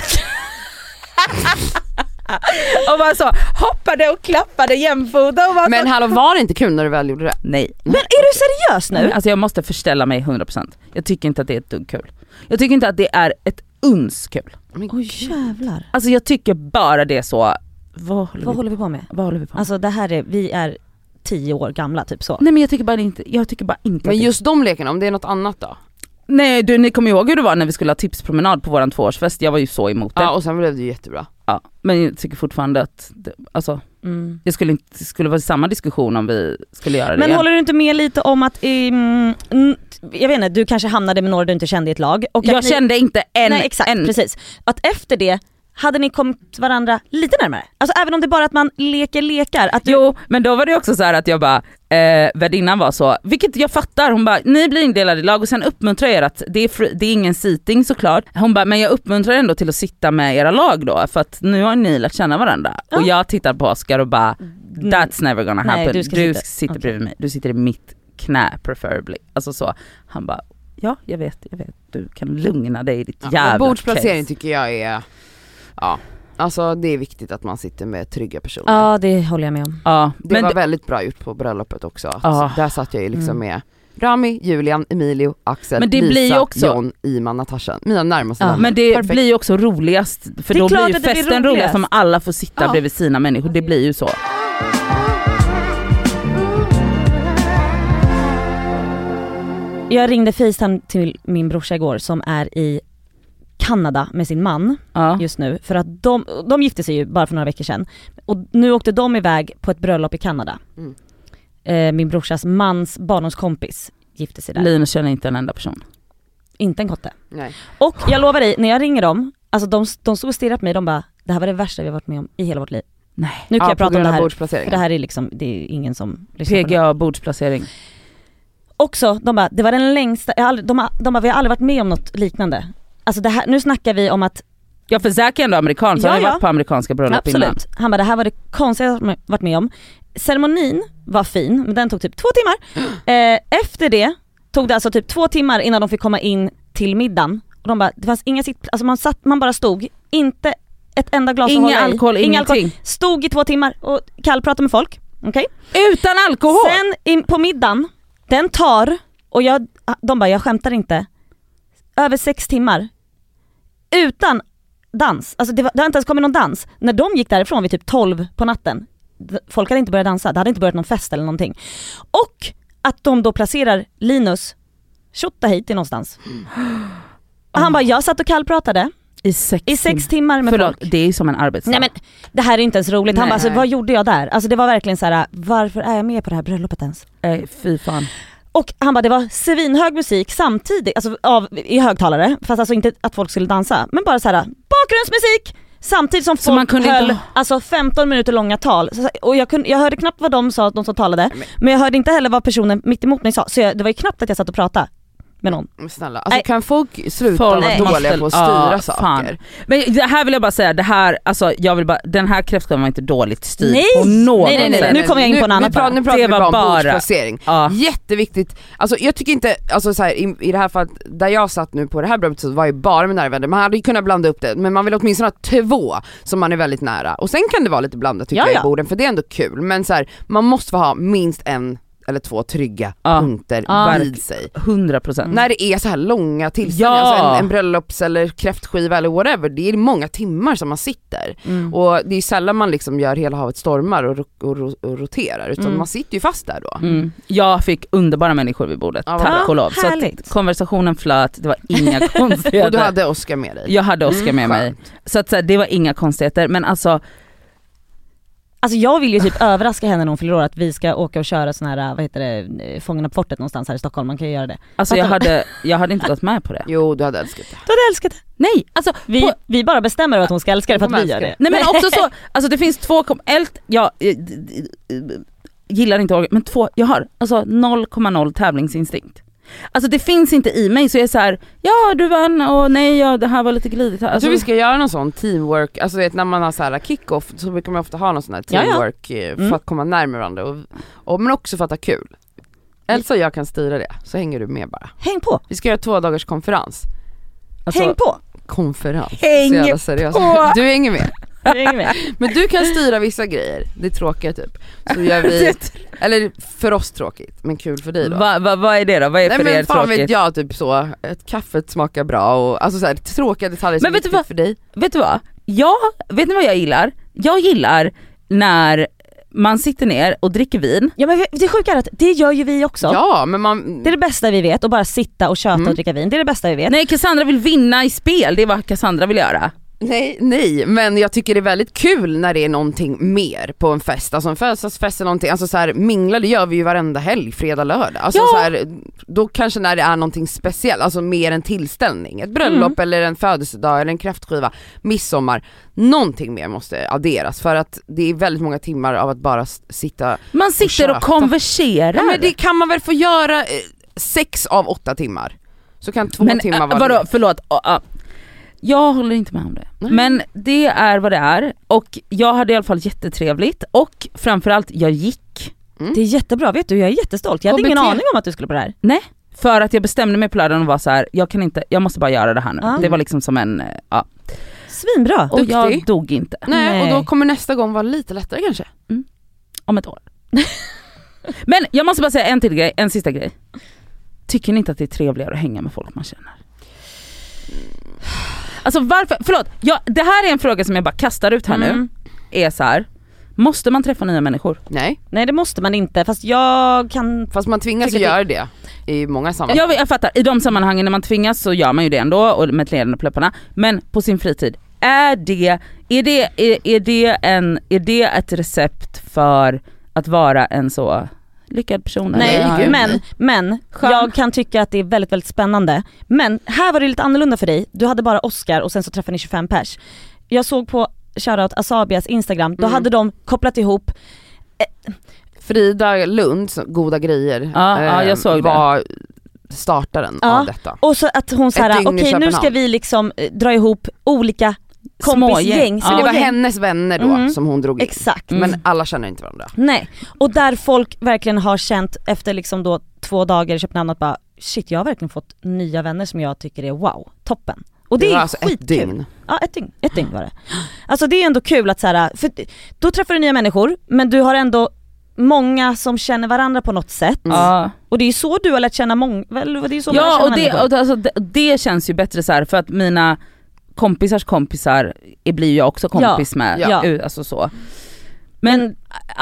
B: och bara så hoppade och klappade jämfota och bara
C: Men
B: så,
C: hallå var det inte kul när du väl gjorde det?
B: nej.
A: Men är du seriös nu?
B: Alltså jag måste förställa mig 100 procent. Jag tycker inte att det är ett dugg kul. Jag tycker inte att det är ett uns kul.
A: Oj jävlar.
B: Alltså jag tycker bara det är så, vad håller,
A: Vad
B: vi,
A: håller vi på med?
B: vad håller vi på med?
A: Alltså det här är, vi är tio år gamla typ så.
B: Nej men jag tycker bara inte, jag tycker bara inte
C: Men
B: att det-
C: just de lekarna, om det är något annat då?
B: Nej du ni kommer ihåg hur det var när vi skulle ha tipspromenad på våran tvåårsfest, jag var ju så emot det.
C: Ja och sen blev det ju jättebra.
B: Ja, men jag tycker fortfarande att, det, alltså
A: Mm.
B: jag skulle inte, det skulle vara samma diskussion om vi skulle göra det
A: Men
B: igen.
A: håller du inte med lite om att, mm, mm, jag vet inte, du kanske hamnade med några du inte kände i ett lag. Och
B: Jag
A: att ni-
B: kände inte en,
A: Nej exakt,
B: en
A: precis. Att efter det hade ni kommit varandra lite närmare. Alltså även om det är bara att man leker lekar. Att du,
B: Jo men då var det också så här att jag bara, eh, värdinnan var så, vilket jag fattar, hon bara ni blir indelade i lag och sen uppmuntrar jag er att, det är, fri, det är ingen seating såklart, hon bara men jag uppmuntrar ändå till att sitta med era lag då för att nu har ni lärt känna varandra.
A: Ja. Mm.
B: Och jag tittar på Oscar och bara that's never gonna
A: Nej,
B: happen,
A: du ska sitta-
B: sitter
A: okej.
B: bredvid mig, du sitter i mitt knä preferably. Alltså så, han bara ja jag vet, jag vet, du kan lugna dig i ditt
C: Ja. men
B: jävla
C: Bordsplacering
B: case.
C: tycker jag är, ja Alltså det är viktigt att man sitter med trygga personer.
A: Ja det håller jag med om.
B: Ja,
C: Det
B: men
C: var
B: det-
C: väldigt bra gjort på bröllopet också, att
B: Ja.
C: där satt jag ju liksom
A: Mm.
C: med Rami, Julian, Emilio, Axel,
B: Men det
C: Lisa,
B: blir ju också-
C: John, Iman, Natasha, mina närmaste
A: Ja.
C: vänner.
B: men det
C: Perfekt.
B: blir ju också roligast, för
A: Det är
B: då blir
A: klart
B: ju
A: att det blir
B: festen roligast.
A: roligast
B: om alla får sitta
A: Ja.
B: bredvid sina människor, det blir ju så.
A: Jag ringde Facetime till min brorsa igår som är i Kanada med sin man
B: Ja.
A: just nu för att de, de gifte sig ju bara för några veckor sedan och nu åkte de iväg på ett bröllop i Kanada.
C: Mm.
A: Eh, min brorsas mans barndomskompis gifte sig där.
B: Linus känner inte en enda person.
A: Inte en kotte.
C: Nej.
A: Och jag lovar dig, när jag ringer dem, alltså de, de stod och stirrade på mig de bara det här var det värsta vi har varit med om i hela vårt liv.
B: Nej.
A: Nu kan jag prata om det här, för det
C: bordsplaceringen.
A: här är liksom, det är ingen som lyssnar på det.
B: PGA bordsplacering.
A: Också, de bara, det var den längsta, jag har aldrig, de, har- de bara, vi har aldrig varit med om något liknande. Alltså det här, nu snackar vi om att
B: Ja för Zac är ändå amerikan så
A: Ja,
B: han har ju
A: ja.
B: varit på amerikanska bröllop innan.
A: Absolut. Han bara, det här var det konstigaste jag varit med om. Ceremonin var fin, men den tog typ två timmar. Eh, efter det tog det alltså typ två timmar innan de fick komma in till middagen. Och de bara, det fanns inga sitt, alltså man satt, man bara stod. Inte ett enda glas att
B: Inga
A: hålla Alltså, i.
B: alkohol,
A: Ingen alkohol.
B: ingenting.
A: Stod i två timmar och kallpratade med folk. Okej?
B: Utan alkohol!
A: Sen in, på middagen, den tar, och jag, de bara jag skämtar inte, över sex timmar utan dans. Alltså det, var, det har inte ens kommit någon dans. När de gick därifrån vid typ 12 på natten, d- folk hade inte börjat dansa, det hade inte börjat någon fest eller någonting. Och att de då placerar Linus Tjotahejti någonstans.
B: Mm.
A: Och han bara, jag satt och kallpratade
B: I sex,
A: i sex timmar med
B: Förlåt,
A: folk.
B: det är ju som en arbetsdag.
A: Nej men det här är inte ens roligt. Han
B: Nej.
A: bara, alltså, vad gjorde jag där? Alltså det var verkligen så här: varför är jag med på det här bröllopet ens?
B: Nej, fy fan.
A: Och han bara det var svinhög musik samtidigt, alltså av, i högtalare, fast alltså inte att folk skulle dansa, men bara så här bakgrundsmusik! Samtidigt som
B: Så
A: folk
B: man kunde
A: höll
B: inte-
A: alltså 15 minuter långa tal. Så- Och jag, kunde, jag hörde knappt vad de sa, de som talade, men jag hörde inte heller vad personen mitt emot mig sa. Så jag, det var ju knappt att jag satt och pratade med någon.
C: Men snälla, alltså,
A: Nej.
C: kan folk sluta
B: Folk
C: vara
B: måste-
C: dåliga på att
B: ja,
C: styra
B: fan.
C: saker?
B: Men det här vill jag bara säga, det här, alltså, jag vill bara, den här kräftskivan var inte dåligt styrd
A: Nej!
B: på något
A: Nej, nej, nej,
B: sätt.
A: nu kommer jag in på en annan
C: nu, pratar,
A: bara.
C: nu pratar
B: Det
C: vi
B: var
C: bara om
B: bara-
C: bordsplacering.
B: Ja.
C: Jätteviktigt, alltså jag tycker inte, alltså så här, i, i det här fallet, där jag satt nu på det här bröllopet så var ju bara med nära vänner, man hade ju kunnat blanda upp det men man vill åtminstone ha två som man är väldigt nära och sen kan det vara lite blandat tycker
A: Ja,
C: jag
A: ja.
C: i borden för det är ändå kul men så här, man måste få ha minst en eller två trygga
B: Ja.
C: punkter
B: Ja.
C: vid sig.
B: 100 procent.
C: När det är så här långa tillställningar,
B: Ja.
C: alltså en, en bröllops eller kräftskiva eller whatever, det är många timmar som man sitter.
B: Mm.
C: Och det är sällan man liksom gör hela havet stormar och, ro- och, ro- och roterar utan man sitter ju fast där då.
B: Mm. Jag fick underbara människor vid bordet,
C: Ja, vad
B: tack
C: bra.
B: och lov. Så att
A: Härligt.
B: konversationen flöt, det var inga
C: Och du
B: konstigheter.
C: hade Oscar med dig.
B: Jag hade Oscar med mig.
C: Skönt.
B: Så att så här, det var inga konstigheter men alltså,
A: Alltså jag vill ju typ överraska henne när hon fyller år att vi ska åka och köra sån här, äh, vad heter det, eh, Fångarna på fortet någonstans här i Stockholm, man kan ju göra det.
B: alltså jag,
A: Fattar
B: hade, jag hade inte gått med på det.
C: Jo du hade älskat det.
A: Du hade älskat det.
B: Nej, alltså
A: Vi,
B: på,
A: vi bara bestämmer att hon ska älska det för
C: Hon
A: att vi gör
C: älskar
A: det.
B: Nej men också så, alltså det finns två, kom- ett, jag eh, d- d- d- gillar inte orga, men två, jag har alltså 0,0 tävlingsinstinkt. Alltså det finns inte i mig så jag är så här, ja du vann och nej ja, det här var lite glidigt. här."
C: Jag
B: Alltså,
C: tror vi ska göra någon sån teamwork, alltså du vet, när man har så här kick-off så brukar man ofta ha någon sån här
A: Ja, ja.
C: teamwork eh, för
A: Mm.
C: att komma närmare varandra och, och, men också för att ha kul. Elsa och jag kan styra det, så hänger du med bara.
A: Häng på,
C: Vi ska göra två dagars konferens. Alltså,
A: häng på!
C: konferens.
B: Häng
C: så jävla seriös.
B: på!
C: Du hänger med.
A: Häng med.
C: Men du kan styra vissa grejer, det är tråkiga typ. Så gör vi, eller för oss tråkigt, men kul för dig då.
B: Va, va, vad är det då? Vad är
C: Nej
B: för er
C: men fan
B: tråkigt?
C: vet jag, typ så, ett kaffet smakar bra och alltså så här, tråkiga detaljer som
B: Men
C: är
B: vet du
C: viktigt
B: vad?
C: för dig.
B: Vet du vad? Jag, vet ni vad jag gillar? Jag gillar när man sitter ner och dricker vin.
A: Ja men det sjuka är att det gör ju vi också.
C: Ja men man,
A: Det är det bästa vi vet, att bara sitta och köta och dricka vin. Det är det bästa vi vet.
B: Nej Cassandra vill vinna i spel, det är vad Cassandra vill göra.
C: nej, nej men jag tycker det är väldigt kul när det är någonting mer på en fest, alltså en födelsedagsfest eller någonting, alltså så här, mingla det gör vi ju varenda helg, fredag, lördag. Alltså
B: Ja.
C: så här, då kanske när det är någonting speciellt, alltså mer en tillställning, ett
B: Mm.
C: bröllop eller en födelsedag eller en kräftskiva, midsommar, någonting mer måste adderas för att det är väldigt många timmar av att bara s- sitta
B: Man sitter och,
C: köta.
B: konverserar.
C: Ja, men det kan man väl få göra eh, sex av åtta timmar. Så kan två timmar
B: äh,
C: vara
B: vadå,
C: det.
B: förlåt. ja, ja. jag håller inte med om det.
C: Nej.
B: Men det är vad det är och jag hade i alla fall jättetrevligt och framförallt jag gick
A: Det är jättebra, vet du jag är jättestolt. Jag hade ingen
C: KBT.
A: aning om att du skulle på det här.
B: för att jag bestämde mig på lördagen och var så här, jag kan inte, jag måste bara göra det här nu.
A: Ja.
B: Det var liksom som en, eh, ja.
A: svinbra.
B: Och jag
C: Duktig.
B: dog inte.
C: Nej, och
A: Nej.
C: då kommer nästa gång vara lite lättare kanske.
B: Om ett år. Men jag måste bara säga en till grej, en sista grej. Tycker ni inte att det är trevligare att hänga med folk man känner? Alltså varför, förlåt, jag, det här är en fråga som jag bara kastar ut här nu.
A: Mm.
B: Är så här. måste man träffa nya människor?
C: Nej,
A: Nej det måste man inte, fast jag kan...
C: fast man tvingas
A: Tycker
C: ju
A: det-
C: göra det i många sammanhang.
B: Jag, jag fattar, i de sammanhangen när man tvingas så gör man ju det ändå och med ett leende på läpparna. Men på sin fritid, är det, är det, är, är det, en, är det ett recept för att vara en så lyckad person?
A: Nej
C: Nej, gud,
A: men, men
B: Skön.
A: jag kan tycka att det är väldigt väldigt spännande. Men här var det lite annorlunda för dig, du hade bara Oscar och sen så träffade ni 25 pers. Jag såg på shoutout Asabias instagram, då
C: Mm.
A: hade de kopplat ihop
C: Frida Lund, som- Goda grejer, eh,
B: Ja, ja, jag såg det.
C: var startaren
A: Ja.
C: av detta.
A: och så att hon
C: Ett
A: såhär,
C: dygn i
A: okej nu ska
C: Köpenhamn."
A: vi liksom eh, dra ihop olika kompisgäng.
B: Smågäng.
A: Små
B: Ja.
C: Det var
A: gäng.
C: hennes vänner då
A: Mhm.
C: som hon drog in.
A: Exakt.
B: Mm.
C: Men alla känner inte varandra.
A: Nej, och där folk verkligen har känt efter liksom då två dagar i Köpenhamn att bara shit jag har verkligen fått nya vänner som jag tycker är wow, toppen. Och det,
C: var
A: är
C: alltså
A: skitkul.
C: ett dygn.
A: Ja ett dygn, ett dygn var det. Alltså det är ändå kul att så här, för då träffar du nya människor men du har ändå många som känner varandra på något sätt.
C: Mm.
B: Ja.
A: Och det är ju så du har lärt känna många, väl, det är ju så man lär
B: Ja
A: känna
B: och, det,
A: människor.
B: och alltså, det, det känns ju bättre så här för att mina kompisars kompisar är- blir ju jag också kompis med.
A: ja.
B: U- Alltså så. Men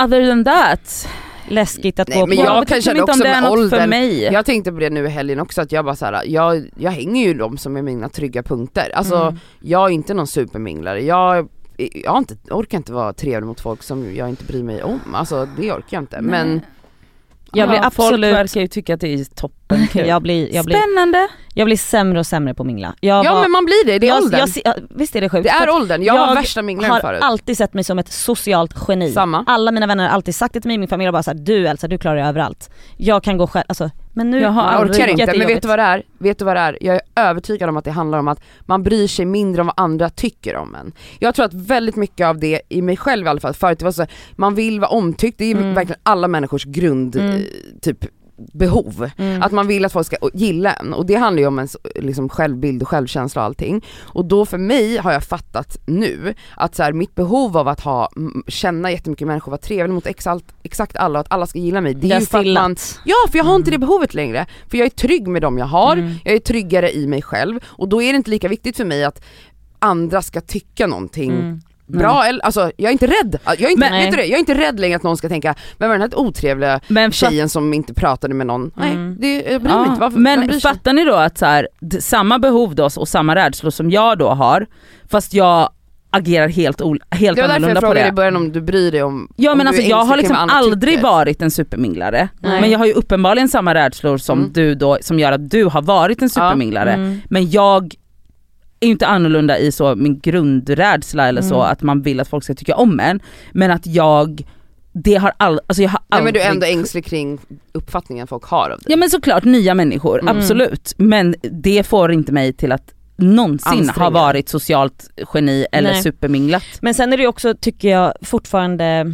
B: other than that,
A: Läskigt att
C: Nej,
A: gå
C: men
A: på.
C: jag
B: vet
C: kan
B: liksom
C: känna
B: inte om
C: också
B: det är
C: med
B: något för
C: åldern.
B: mig.
C: Jag tänkte på det nu i helgen också att jag bara så här, jag, jag hänger ju de som är mina trygga punkter. Alltså
A: Mm.
C: jag är inte någon superminglare, jag, jag har inte, orkar inte vara trevlig mot folk som jag inte bryr mig om. Alltså det orkar jag inte. Men
A: Jag blir absolut-
B: Folk verkar ju tycka att det är toppen kul.
A: Jag blir, jag, blir,
B: Spännande!
A: jag blir sämre och sämre på att mingla. Jag
C: ja
A: var-
C: men man blir det, det är
A: jag,
C: åldern.
A: jag, se- ja, visst är det sjukt?
C: det
A: För att-
C: är åldern, jag, var
A: jag
C: värsta minglaren
A: har
C: förut.
A: alltid sett mig som ett socialt geni.
C: Samma.
A: Alla mina vänner har alltid sagt det till mig, min familj har bara såhär, du Elsa du klarar dig överallt. Jag kan gå själv, alltså, men nu
B: Jag har
C: Jag
B: aldrig
C: orkar
A: tycker jag
C: inte,
A: att det är
C: men vet
A: jobbigt.
C: du vad det är? Vet du vad det är? Jag är övertygad om att det handlar om att man bryr sig mindre om vad andra tycker om en. Jag tror att väldigt mycket av det, i mig själv i alla fall, förut det var så här, man vill vara omtyckt, det är ju
A: Mm.
C: verkligen alla människors grund,
A: Mm.
C: eh, typ behov.
A: Mm.
C: Att man vill att folk ska gilla en och det handlar ju om ens liksom, självbild och självkänsla och allting. Och då för mig har jag fattat nu att så här, mitt behov av att ha, m- känna jättemycket människor, vara trevlig mot exakt, exakt alla och att alla ska gilla mig, det
A: Det
C: är
A: har
C: ju för att
A: stillat.
C: man Ja för jag har inte det
B: Mm.
C: behovet längre, för jag är trygg med dem jag har, jag är tryggare i mig själv och då är det inte lika viktigt för mig att andra ska tycka någonting
B: Mm.
C: bra, eller, alltså jag är inte rädd, jag är inte,
A: Men-
C: vet du det? jag är inte rädd längre att någon ska tänka vem var den här otrevliga
B: Men, fa-
C: tjejen som inte pratade med någon? Nej,
A: Mm.
C: det, jag bryr mig
B: ja.
C: inte, varför, vem bryr
B: men
C: sig?
B: fattar ni då att så här, d- samma behov då och samma rädslor som jag då har fast jag agerar helt, ol- helt
C: det var därför jag
B: annorlunda på
C: frågade
B: det.
C: i början om du bryr dig om
B: Ja
C: om
B: men
C: du
B: alltså
C: är
B: jag har
C: ängslig
B: liksom
C: kring vad andra
B: aldrig
C: tycker.
B: varit en superminglare.
A: Nej.
B: Men jag har ju uppenbarligen samma rädslor som
C: Mm.
B: du då, som gör att du har varit en superminglare.
A: Mm.
B: Men jag är ju inte annorlunda i så min grundrädsla eller så
A: Mm.
B: att man vill att folk ska tycka om en. Men att jag, det har all, alltså jag har
C: Nej men
B: aldrig...
C: du är ändå ängslig kring uppfattningen folk har av dig.
B: Ja men såklart nya människor,
C: Mm.
B: absolut. Men det får inte mig till att någonsin ha
C: Anstränga.
B: varit socialt geni eller
A: Nej.
B: superminglat.
A: Men sen är det ju också, tycker jag, fortfarande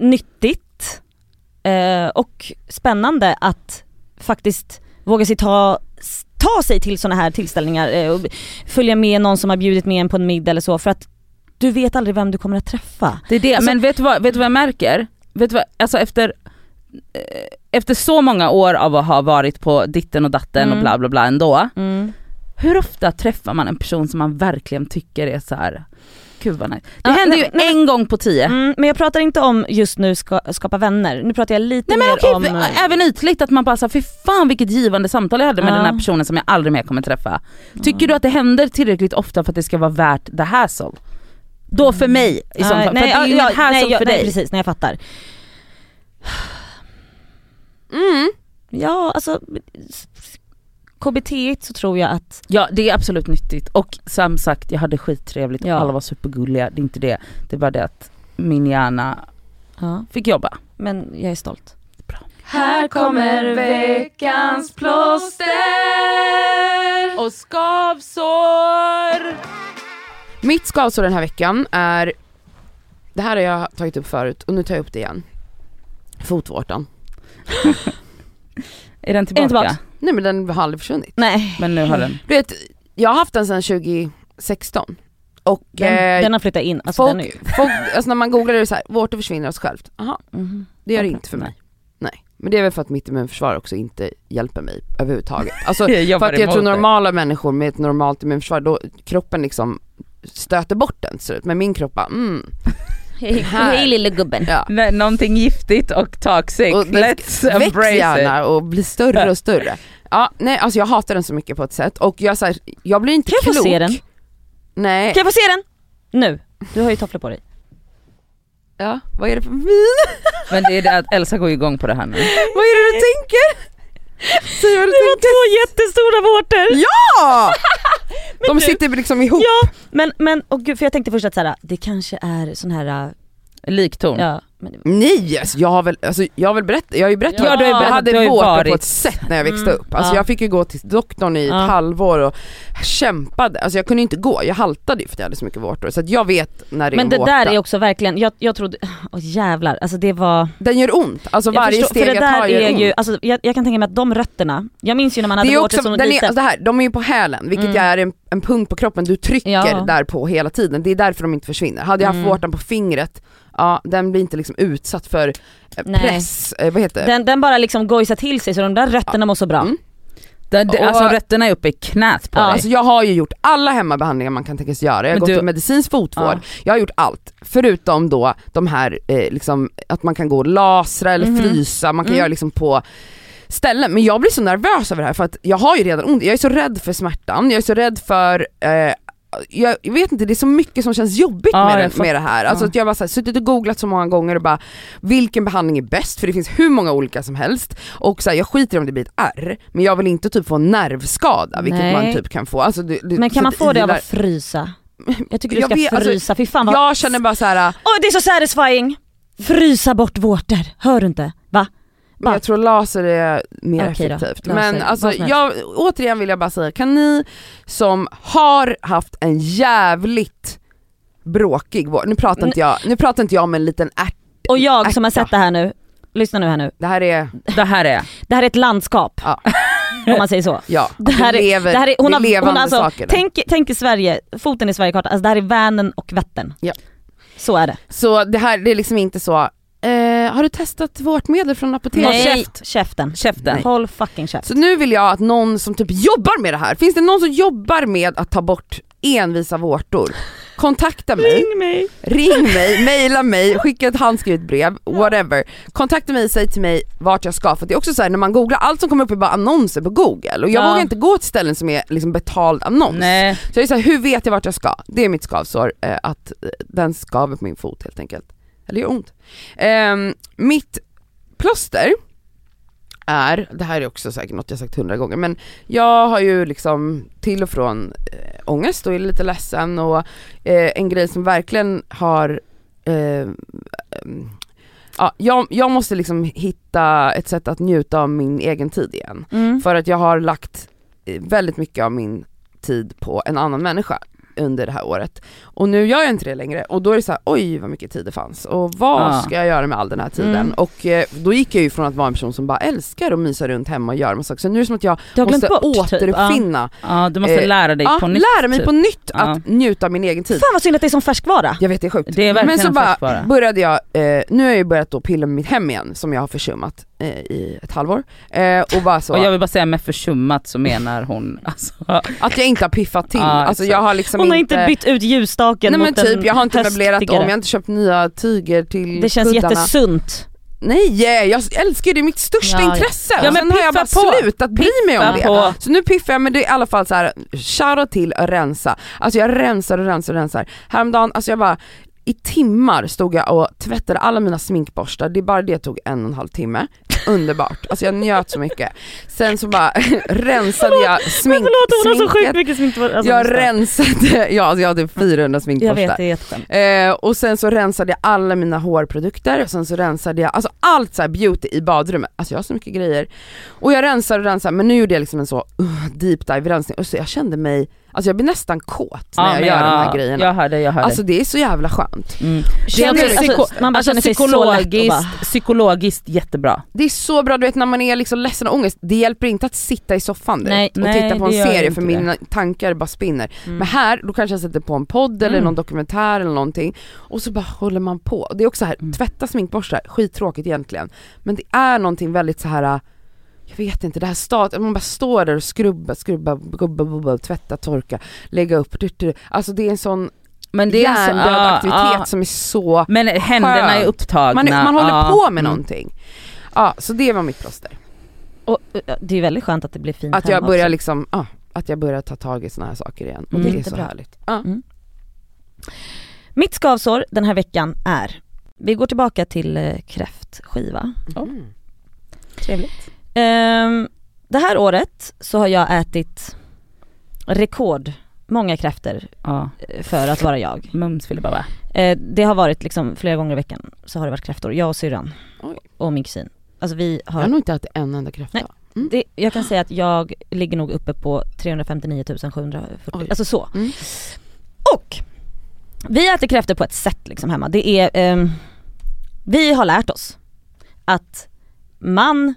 A: nyttigt eh, och spännande att faktiskt våga sig ta, ta sig till sådana här tillställningar eh, och följa med någon som har bjudit med en på en middag eller så för att du vet aldrig vem du kommer att träffa.
B: Det är det,
A: Alltså-
B: men vet du, vad, vet du vad jag märker? Vet du vad, alltså efter, eh, efter så många år av att ha varit på ditten och datten
A: Mm.
B: och bla bla bla ändå. Hur ofta träffar man en person som man verkligen tycker är så här. gud vad nice.
A: Ja,
B: Det händer
A: nej,
B: ju
A: nej,
B: en gång på tio.
A: Mm, men jag pratar inte om just nu ska, skapa vänner, nu pratar jag lite
B: Nej men
A: mer
B: okej,
A: om... eh,
B: för- även ytligt att man bara såhär, fy fan vilket givande samtal jag hade med
A: Ja.
B: den här personen som jag aldrig mer kommer träffa. Tycker du att det händer tillräckligt ofta för att det ska vara värt the hassle? Då för mig i så fall, för att det är ju inget hassle
A: Mm. nej, jag-
B: för
A: nej,
B: dig.
A: precis, nej jag fattar.
C: Mm.
A: Ja alltså s- s- KBT -igt så tror jag att
B: Ja det är absolut nyttigt och som sagt jag hade skittrevligt och
A: Ja.
B: alla var supergulliga, det är inte det. Det är bara det att min hjärna
A: ja.
B: fick jobba.
A: Men jag är stolt.
B: Här kommer veckans plåster och skavsår.
C: Mitt skavsår den här veckan är, det här har jag tagit upp förut och nu tar jag upp det igen. Fotvårtan.
B: Är den tillbaka?
A: Är den tillbaka?
C: Nej men den har aldrig försvunnit.
A: Nej.
B: Men nu har den.
C: Du vet, jag har haft den sedan 2016 Och
A: Den,
C: eh,
A: den har flyttat in, alltså den är ju...
C: folk, folk, alltså när man googlar är det så här, vårtor försvinner av sig självt. Aha,
A: Mhm.
C: det gör det
A: Okej.
C: inte för mig. Nej. Men det är väl för att mitt immunförsvar också inte hjälper mig överhuvudtaget. Alltså,
B: Jag jobbar
C: för att jag
B: emot
C: tror
B: det.
C: normala människor med ett normalt immunförsvar, då kroppen liksom stöter bort den ser det ut. Men min kropp bara, mm,
A: Hej,
C: Här.
A: hej lille gubben.
C: ja.
B: Nej, någonting giftigt och toxic,
C: Och den
B: let's
C: Väx
B: embrace it.
C: gärna och bli större och större. Ja, nej alltså jag hatar den så mycket på ett sätt och jag, så här, jag blir inte
A: Kan jag
C: klok.
A: få se den?
C: Nej.
A: Kan jag få se den? Nu. Du har ju tofflor på dig.
C: Ja, vad är det för vin?
B: Men det är det att Elsa går ju igång på det här nu.
C: vad är det du tänker? Säg vad du
A: Det var
C: tänker.
A: två jättestora vårtor!
C: Ja! De
A: du-
C: sitter liksom ihop.
A: Ja! Men, men, och gud, för jag tänkte först att så här, det kanske är sån här, äh,
B: Liktorn.
A: ja, men det,
C: Nej, alltså jag har väl, alltså jag har väl berättat, jag har ju berättat
B: Ja,
C: att
B: du har ju
C: jag
B: berättat,
C: hade
B: du har ju
C: vårtor
B: varit.
C: på ett sätt när jag växte
A: Mm,
C: upp. Alltså
A: ja.
C: jag fick ju gå till doktorn i
A: Ja.
C: ett halvår och kämpade, alltså jag kunde inte gå, jag haltade ju för att jag hade så mycket vårtor. Så att jag vet när det är
A: men
C: en
A: det
C: vårta.
A: där är också verkligen, jag, jag trodde, åh jävlar, alltså det var...
C: Den gör ont, alltså
A: jag
C: varje
A: förstår,
C: steg
A: för det
C: jag tar
A: där
C: gör
A: är
C: ont.
A: ju, alltså, jag, jag kan tänka mig att de rötterna, jag minns ju när man
C: Det
A: hade
C: är
A: vårtor
C: också,
A: som
C: den är,
A: liten.
C: alltså det här, de är ju på hälen, vilket
A: Mm.
C: är en, en punkt på kroppen du trycker
A: Ja.
C: där på hela tiden. Det är därför de inte försvinner. Hade jag haft
A: Mm.
C: vårtan på fingret, ja den blir inte liksom utsatt för eh,
A: Nej.
C: press, eh, vad heter det? Mm.
A: Den, den bara liksom gojsar till sig så de där rötterna mår så bra.
B: Där, det, alltså
C: Och-
B: rötterna är uppe i knät på
A: Ja.
B: dig.
C: Alltså jag har ju gjort alla hemmabehandlingar man kan tänkas göra, jag har
B: Men
C: gått
B: du-
C: till medicinsk fotvård,
A: Ja.
C: jag har gjort allt. Förutom då de här, eh, liksom, att man kan gå och lasra eller
A: Mhm.
C: frysa, man kan
A: Mm.
C: göra liksom på ställen. Men jag blir så nervös över det här för att jag har ju redan ont, jag är så rädd för smärtan, jag är så rädd för eh, jag jag vet inte, det är så mycket som känns jobbigt
B: Ja,
C: med,
B: jag
C: det,
B: fattar.
C: med det här. Alltså
B: Ja.
C: att jag har bara så här, suttit och googlat så många gånger och bara vilken behandling är bäst? För det finns hur många olika som helst. Och så här, jag skiter i om det blir ett ärr, men jag vill inte typ få en nervskada vilket
A: Nej.
C: man typ kan få. Alltså, det, det,
A: Men
C: så
A: kan man
C: att
A: få det av
C: ilar-
A: att frysa? Jag tycker du
C: Jag
A: ska
C: vet, alltså,
A: frysa, fy fan vad...
C: Jag känner bara så här. äh,
A: Åh det är så satisfying! Frysa bort vårtor, hör du inte? Va?
C: Men
A: Bara-
C: jag tror laser är mer
A: Okej då,
C: effektivt.
A: laser,
C: men alltså,
A: vad som helst.
C: jag, återigen vill jag bara säga, kan ni som har haft en jävligt bråkig vår, nu pratar inte jag, nu pratar inte jag om en liten ärt,
A: Och jag som har
C: Ärta.
A: sett det här nu, lyssna nu här nu.
C: det här är,
B: Det här är
A: Det här är ett landskap.
C: Ja.
A: Om man säger så.
C: ja,
A: Det här
C: vi
A: är-
C: lever,
A: Det här är, hon
C: det
A: har,
C: är levande
A: hon, alltså,
C: saker. där.
A: tänk, tänk i Sverige, foten i Sverigekartan, alltså det här är Vänern och Vättern.
C: Ja.
A: Så är det.
C: Så det här, det är liksom inte så, eh, har du testat vårtmedel från apoteket?
A: Håll käft, käften.
B: käften.
A: Håll fucking käft.
C: Så nu vill jag att någon som typ jobbar med det här, finns det någon som jobbar med att ta bort envisa vårtor? Kontakta mig,
A: mig.
C: ring mig, mejla mig, skicka ett handskrivet brev, whatever. Kontakta mig, säg till mig vart jag ska. För det är också så här när man googlar, allt som kommer upp är bara annonser på google och jag
A: Ja.
C: vågar inte gå till ställen som är liksom betald annons.
B: Nej.
C: Så jag är så här, hur vet jag vart jag ska? Det är mitt skavsår, eh, att eh, den skaver på min fot helt enkelt. Eller gör ont. Ehm, mitt plåster är, det här är också säkert något jag sagt hundra gånger, men jag har ju liksom till och från eh, ångest och är lite ledsen och eh, en grej som verkligen har eh, ehm, Ja, jag, jag måste liksom hitta ett sätt att njuta av min egen tid igen.
A: Mm.
C: För att jag har lagt eh, väldigt mycket av min tid på en annan människa under det här året. Och nu gör jag inte det längre och då är det så här, oj vad mycket tid det fanns och vad
B: Ja.
C: ska jag göra med all den här tiden?
A: Mm.
C: Och eh, då gick jag ju från att vara en person som bara älskar att mysa runt hemma och göra massa saker, så nu är det som att jag
A: Du har glömt
C: måste
A: bort typ. Ja.
C: återuppfinna,
B: Ja, du måste
C: Eh,
B: lära dig
C: ja,
B: på nytt.
C: lära mig
B: typ.
C: på nytt att
B: Ja.
C: njuta av min egen tid.
A: Fan vad synd att det är som färskvara.
C: Jag vet det är sjukt.
B: Det är verkligen
C: Men så
B: en
C: bara
B: färskvara.
C: började jag, eh, nu har jag ju börjat då pilla med mitt hem igen som jag har försummat eh, i ett halvår. Eh, och bara så,
B: Och jag vill bara säga med försummat så menar hon alltså,
C: att jag inte har piffat till.
B: Ja,
C: alltså jag har liksom
A: Hon har
C: inte
A: inte bytt ut ljusstaken
C: Nej men
A: mot en
C: typ, jag har inte möblerat om,
A: hösttiggare.
C: jag har inte köpt nya tyger till
A: Det känns
C: kuddarna.
A: jättesunt.
C: Nej, eh, jag älskar ju det, det är mitt största
A: Ja, ja.
C: intresse.
B: Ja,
C: och
B: men
C: sen har jag bara
B: piffa på.
C: slutat bry mig om det.
B: Piffa på.
C: Så nu piffar jag, men det är i alla fall så här, shoutout till att rensa. Alltså jag rensar och rensar och rensar. Häromdagen, alltså jag bara, i timmar stod jag och tvättade alla mina sminkborstar, det är bara det tog en och en halv timme. Underbart, alltså jag njöt så mycket. Sen så bara rensade jag smink,
A: Men förlåt hon har så sjukt
C: sminket.
A: mycket smink. Alltså,
C: Jag rensade, ja alltså jag hade 400
A: jag
C: sminkborstar.
A: vet, det är jätteskönt.
C: Eh, och sen så rensade jag alla mina hårprodukter, och sen så rensade jag, alltså allt så här beauty i badrummet, alltså jag har så mycket grejer. Och jag rensar och rensar, men nu gjorde jag liksom en så uh, deep dive rensning och så jag kände mig, Alltså jag blir nästan kåt
B: Ja,
C: när jag
B: men
C: gör
B: jag,
C: de här grejerna.
B: Jag hör dig, jag hör dig.
C: Alltså det är så jävla skönt.
B: Mm.
A: Känner
C: Det är
A: du-
C: psyko-
A: alltså, man bara
B: Alltså
A: känner sig så lätt och bara,
B: psykologiskt, psykologiskt jättebra.
C: Det är så bra, du vet när man är liksom ledsen och ångest, det hjälper inte att sitta i soffan direkt
B: Nej,
C: och
B: nej,
C: titta på
B: det
C: en
B: gör
C: serie
B: inte
C: för
B: det.
C: mina tankar bara spinner.
A: Mm.
C: Men här, då kanske jag sätter på en podd eller
B: Mm.
C: någon dokumentär eller någonting och så bara håller man på. Och Det är också så här,
B: Mm.
C: tvätta sminkborstar, skittråkigt egentligen. Men det är någonting väldigt så här. äh, jag vet inte, det här stat, man bara står där och skrubbar, skrubbar, gubba, bubba, tvätta, torka, lägga upp, dyrt, dyrt. alltså det är en sån
B: Men det är så- ah,
C: hjärndöd
B: ja,
C: aktivitet
B: ja.
C: som är så,
B: Men händerna är
C: Skönt.
B: upptagna.
C: man, man håller
B: ja.
C: på med
B: Mm.
C: någonting. Ja, så det var mitt plåster.
A: och, eh, det är väldigt skönt att det blir fint
C: Att jag
A: hemma
C: börjar
A: också.
C: liksom, ja, att jag börjar ta tag i såna här saker igen och
B: Mm.
C: det är så
A: Jättebra. Mm.
C: härligt. Ja.
A: Mitt skavsår den här veckan är, vi går tillbaka till eh, kräftskiva.
C: Mm.
A: Trevligt. det här året så har jag ätit rekord många kräftor
B: Ja.
A: eh, för att vara jag.
B: Mums ville bara vara.
A: Eh, det har varit liksom flera gånger i veckan så har det varit kräftor, jag och syrran
C: Oj.
A: och min kusin. Alltså vi
C: Jag
A: har,
C: har nog inte ätit en enda kräfta.
A: Nej. det, jag kan säga att jag ligger nog uppe på 359 740,
C: Oj.
A: alltså så.
C: Mm.
A: Och vi äter kräftor på ett sätt liksom hemma. Det är, ehm, vi har lärt oss att man,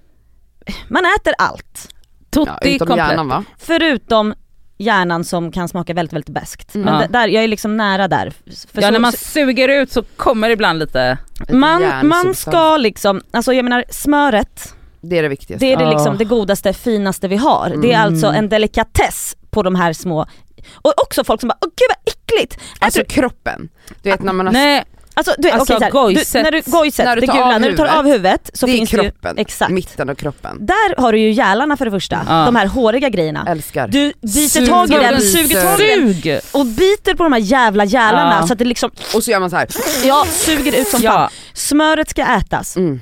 A: man äter allt.
B: Tutti
C: Ja, utom
B: komplett.
C: hjärnan va?
A: Förutom hjärnan som kan smaka väldigt väldigt bäst.
C: Mm.
A: Men
B: Ja.
A: d- där, jag är liksom nära där. För
B: Ja
A: så-
B: när man suger ut så kommer det ibland lite,
C: Ett
A: man, man
C: hjärnsubstans.
A: ska liksom, alltså jag menar smöret,
C: Det är det viktigaste.
A: det är det,
B: Ja.
A: liksom, det godaste, finaste vi har. Det är
B: Mm.
A: alltså en delikatess på de här små och också folk som bara åh gud vad äckligt!
C: Alltså
A: Alltså,
C: kroppen, du vet när man har
B: nej
A: alltså, du,
B: Alltså,
A: alltså
B: gojset.
A: Du, när du, gojset,
C: När du
A: det
C: tar
A: gula,
C: av
A: när du tar av huvudet så
C: det är
A: finns det ju,
C: kroppen,
A: exakt.
C: mitten av kroppen.
A: där har du ju gälarna för det första,
B: Ja.
A: de här håriga grejerna.
C: Älskar.
A: Du biter tag i
C: Suger,
A: den, suger tag i den
B: Sug!
A: och biter på de här jävla gälarna
B: Ja.
A: så att det liksom,
C: Och så gör man så här.
A: ja suger ut som fan.
B: Ja,
A: Smöret ska ätas.
C: Mm.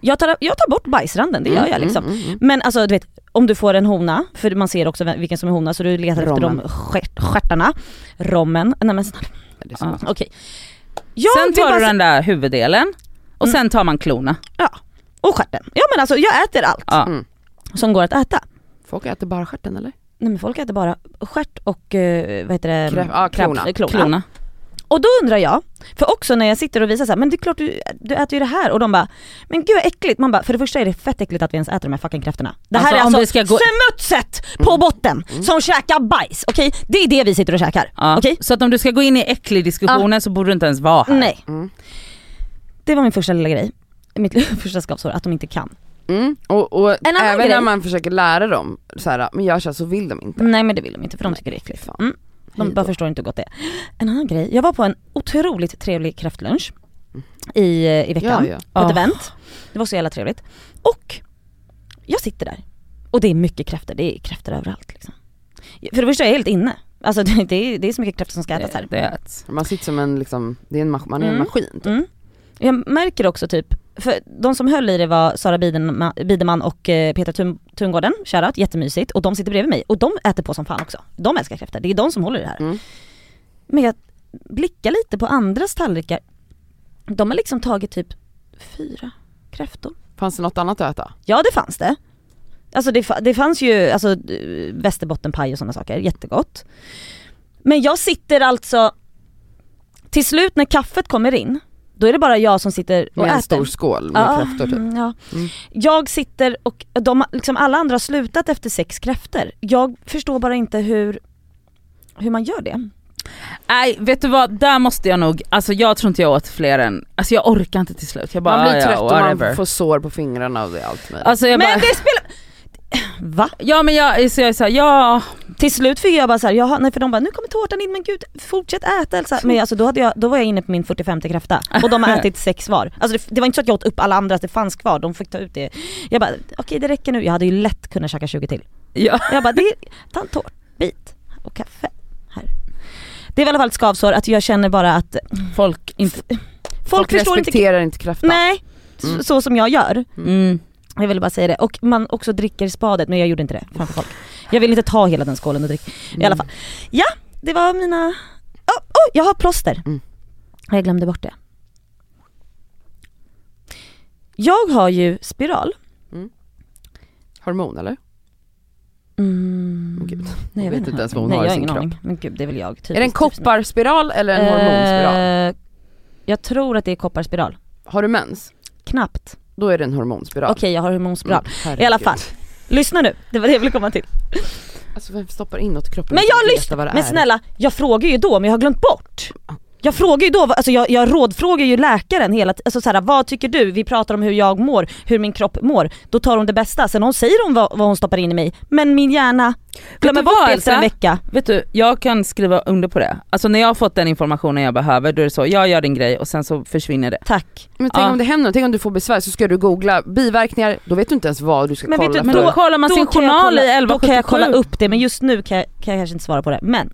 A: Jag tar, jag tar bort bajsranden, det gör jag liksom.
C: Mm, mm, mm.
A: Men alltså du vet, om du får en hona, för man ser också vem- vilken som är hona så du letar
C: Rommen.
A: efter de stjärt- stjärtarna. Rommen, nej men snälla,
C: Det är så gott.
A: okej. Jag
B: sen
A: vill
B: tar
A: bara
B: du
A: se-
B: den där huvuddelen och
A: Mm.
B: sen tar man klorna.
A: Och stjärten. Ja men alltså jag äter allt
B: Ja.
C: Mm.
A: som går att äta.
C: Folk äter bara stjärten eller?
A: Nej men folk äter bara stjärt och eh, vad heter det?
C: Kräf- ja, klona.
A: Krabb- klona.
B: Klorna.
A: Och då undrar jag, för också när jag sitter och visar så här, men det är klart du, du äter ju det här och de bara, men gud vad äckligt. Man bara, för det första är det fett äckligt att vi ens äter de här fucking kräftorna. Det här
B: Alltså,
A: är
B: om
A: alltså
B: vi ska gå- Mm.
A: smutset på botten som käkar bajs, okej? Det är det vi sitter och käkar,
B: Ja.
A: okej?
B: Så att om du ska gå in i äcklig diskussionen så borde du inte ens vara här.
A: Nej.
C: Mm.
A: Det var min första lilla grej, mitt första skavsår, att de inte kan.
C: Mm. Och, och
A: En annan
C: även
A: grej. Mm.
C: när man försöker lära dem så här, men jag känner så vill de inte.
A: Nej men det vill de inte för de tycker det är äckligt.
C: Fan.
A: Mm. De
C: Hej
A: bara
C: då.
A: förstår inte hur gott det är. En annan grej, jag var på en otroligt trevlig kräftlunch i, eh, i
C: Ja,
A: veckan
C: ja.
A: på ett
B: Ah.
A: event. Det var så jävla trevligt. Och jag sitter där och det är mycket kräftor, det är kräftor överallt liksom. För det första är jag helt inne. Alltså det det är, det är så mycket kräftor som ska ätas här.
B: Det, det äts.
C: Man sitter som en liksom, det är en mas- man är en
A: Mm.
C: maskin. Typ.
A: Mm. Jag märker också typ, för de som höll i det var Sara Bidenma- Biderman och eh, Petra Tun- Tungården, shoutout, jättemysigt. Och de sitter bredvid mig och de äter på som fan också. De älskar kräftor, det är de som håller i det här.
C: Mm.
A: Men jag blickar lite på andras tallrikar, de har liksom tagit typ fyra kräftor.
C: Fanns det något annat att äta?
A: Ja det fanns det. Alltså det, fa- det fanns ju alltså, eh, västerbottenpaj och sådana saker, jättegott. Men jag sitter alltså, till slut när kaffet kommer in, då är det bara jag som sitter och
C: Med en
A: äter.
C: stor skål med
A: Ja,
C: kräftor typ.
A: mm, Ja.
C: Mm.
A: Jag sitter och de, liksom alla andra har slutat efter sex kräftor. Jag förstår bara inte hur, hur man gör det.
B: Nej vet du vad, där måste jag nog, alltså jag tror inte jag åt fler än, alltså jag orkar inte till slut. Jag bara,
C: Man
A: "Ah,
C: blir
B: ja,
C: trött
B: ja,
C: och
B: whatever.
C: man får sår på fingrarna och det är allt möjligt.
B: Alltså jag
A: Men
B: bara,
A: det spelar... Va?
B: ja men jag, så jag är såhär, ja
A: Till slut fick jag bara såhär, jaha nej för de bara nu kommer tårtan in men gud fortsätt äta Elsa. Men alltså, då, hade jag, då var jag inne på min 45 kräfta och de har ätit sex var. Alltså det, det var inte så att jag åt upp alla andra, att det fanns kvar, de fick ta ut det. Jag bara okej det räcker nu, jag hade ju lätt kunnat käka 20 till.
B: Ja.
A: Jag bara, det är, ta en tårtbit och kaffe här. Det är i alla fall ett skavsår att jag känner bara att
B: Folk inte...
A: folk,
C: Folk
A: förstår inte
C: respekterar inte kräftan.
A: Nej,
C: Mm.
A: så, så som jag gör.
B: Mm.
A: Jag ville bara säga det. Och man också dricker spadet, men jag gjorde inte det framför folk. Jag ville inte ta hela den skålen och dricka. I
C: Mm.
A: alla fall. Ja, det var mina... Åh, åh, jag har plåster!
C: Mm.
A: Jag glömde bort det. Jag har ju spiral.
C: Hormon eller?
A: Mm.
C: Men gud,
A: Nej,
C: jag vet inte ens vad hon
A: Nej,
C: har i
A: jag
C: sin
A: ingen
C: kropp.
A: aning. Men gud, det är väl jag. Typiskt,
C: Är det en
A: typiskt mig.
C: kopparspiral eller en hormonspiral?
A: Eh, jag tror att det är kopparspiral.
C: Har du mens?
A: Knappt.
C: Då är det en hormonspiral.
A: Okej, jag har hormonspiral.
C: Mm,
A: I alla fall.
C: herregud.
A: Lyssna nu, det var det jag ville komma till.
C: Alltså vem stoppar in något i kroppen
A: Men
C: utan att
A: jag
C: veta
A: lyssnar,
C: vad det
A: men
C: är?
A: snälla, jag frågar ju då men jag har glömt bort. Jag frågar ju då, alltså jag, jag rådfrågar ju läkaren hela tiden, alltså så här, vad tycker du? Vi pratar om hur jag mår, hur min kropp mår. Då tar hon det bästa, sen hon säger hon vad, vad hon stoppar in i mig, men min hjärna glömmer
B: du
A: bort
B: vad,
A: det efter en
B: Elsa?
A: vecka.
B: Vet du, jag kan skriva under på det. Alltså när jag har fått den informationen jag behöver då är det så, jag gör din grej och sen så försvinner det.
A: Tack.
C: Men tänk
B: Ja.
C: om det händer tänk om du får besvär så ska du googla biverkningar, då vet du inte ens vad du ska
A: Men vet
C: kolla
A: du,
C: för.
B: Men då, kollar man sin
A: kan jag
B: journal
A: kolla-
B: i 1177.
A: Då kan jag kolla upp det men just nu kan jag, kan jag kanske inte svara på det. Men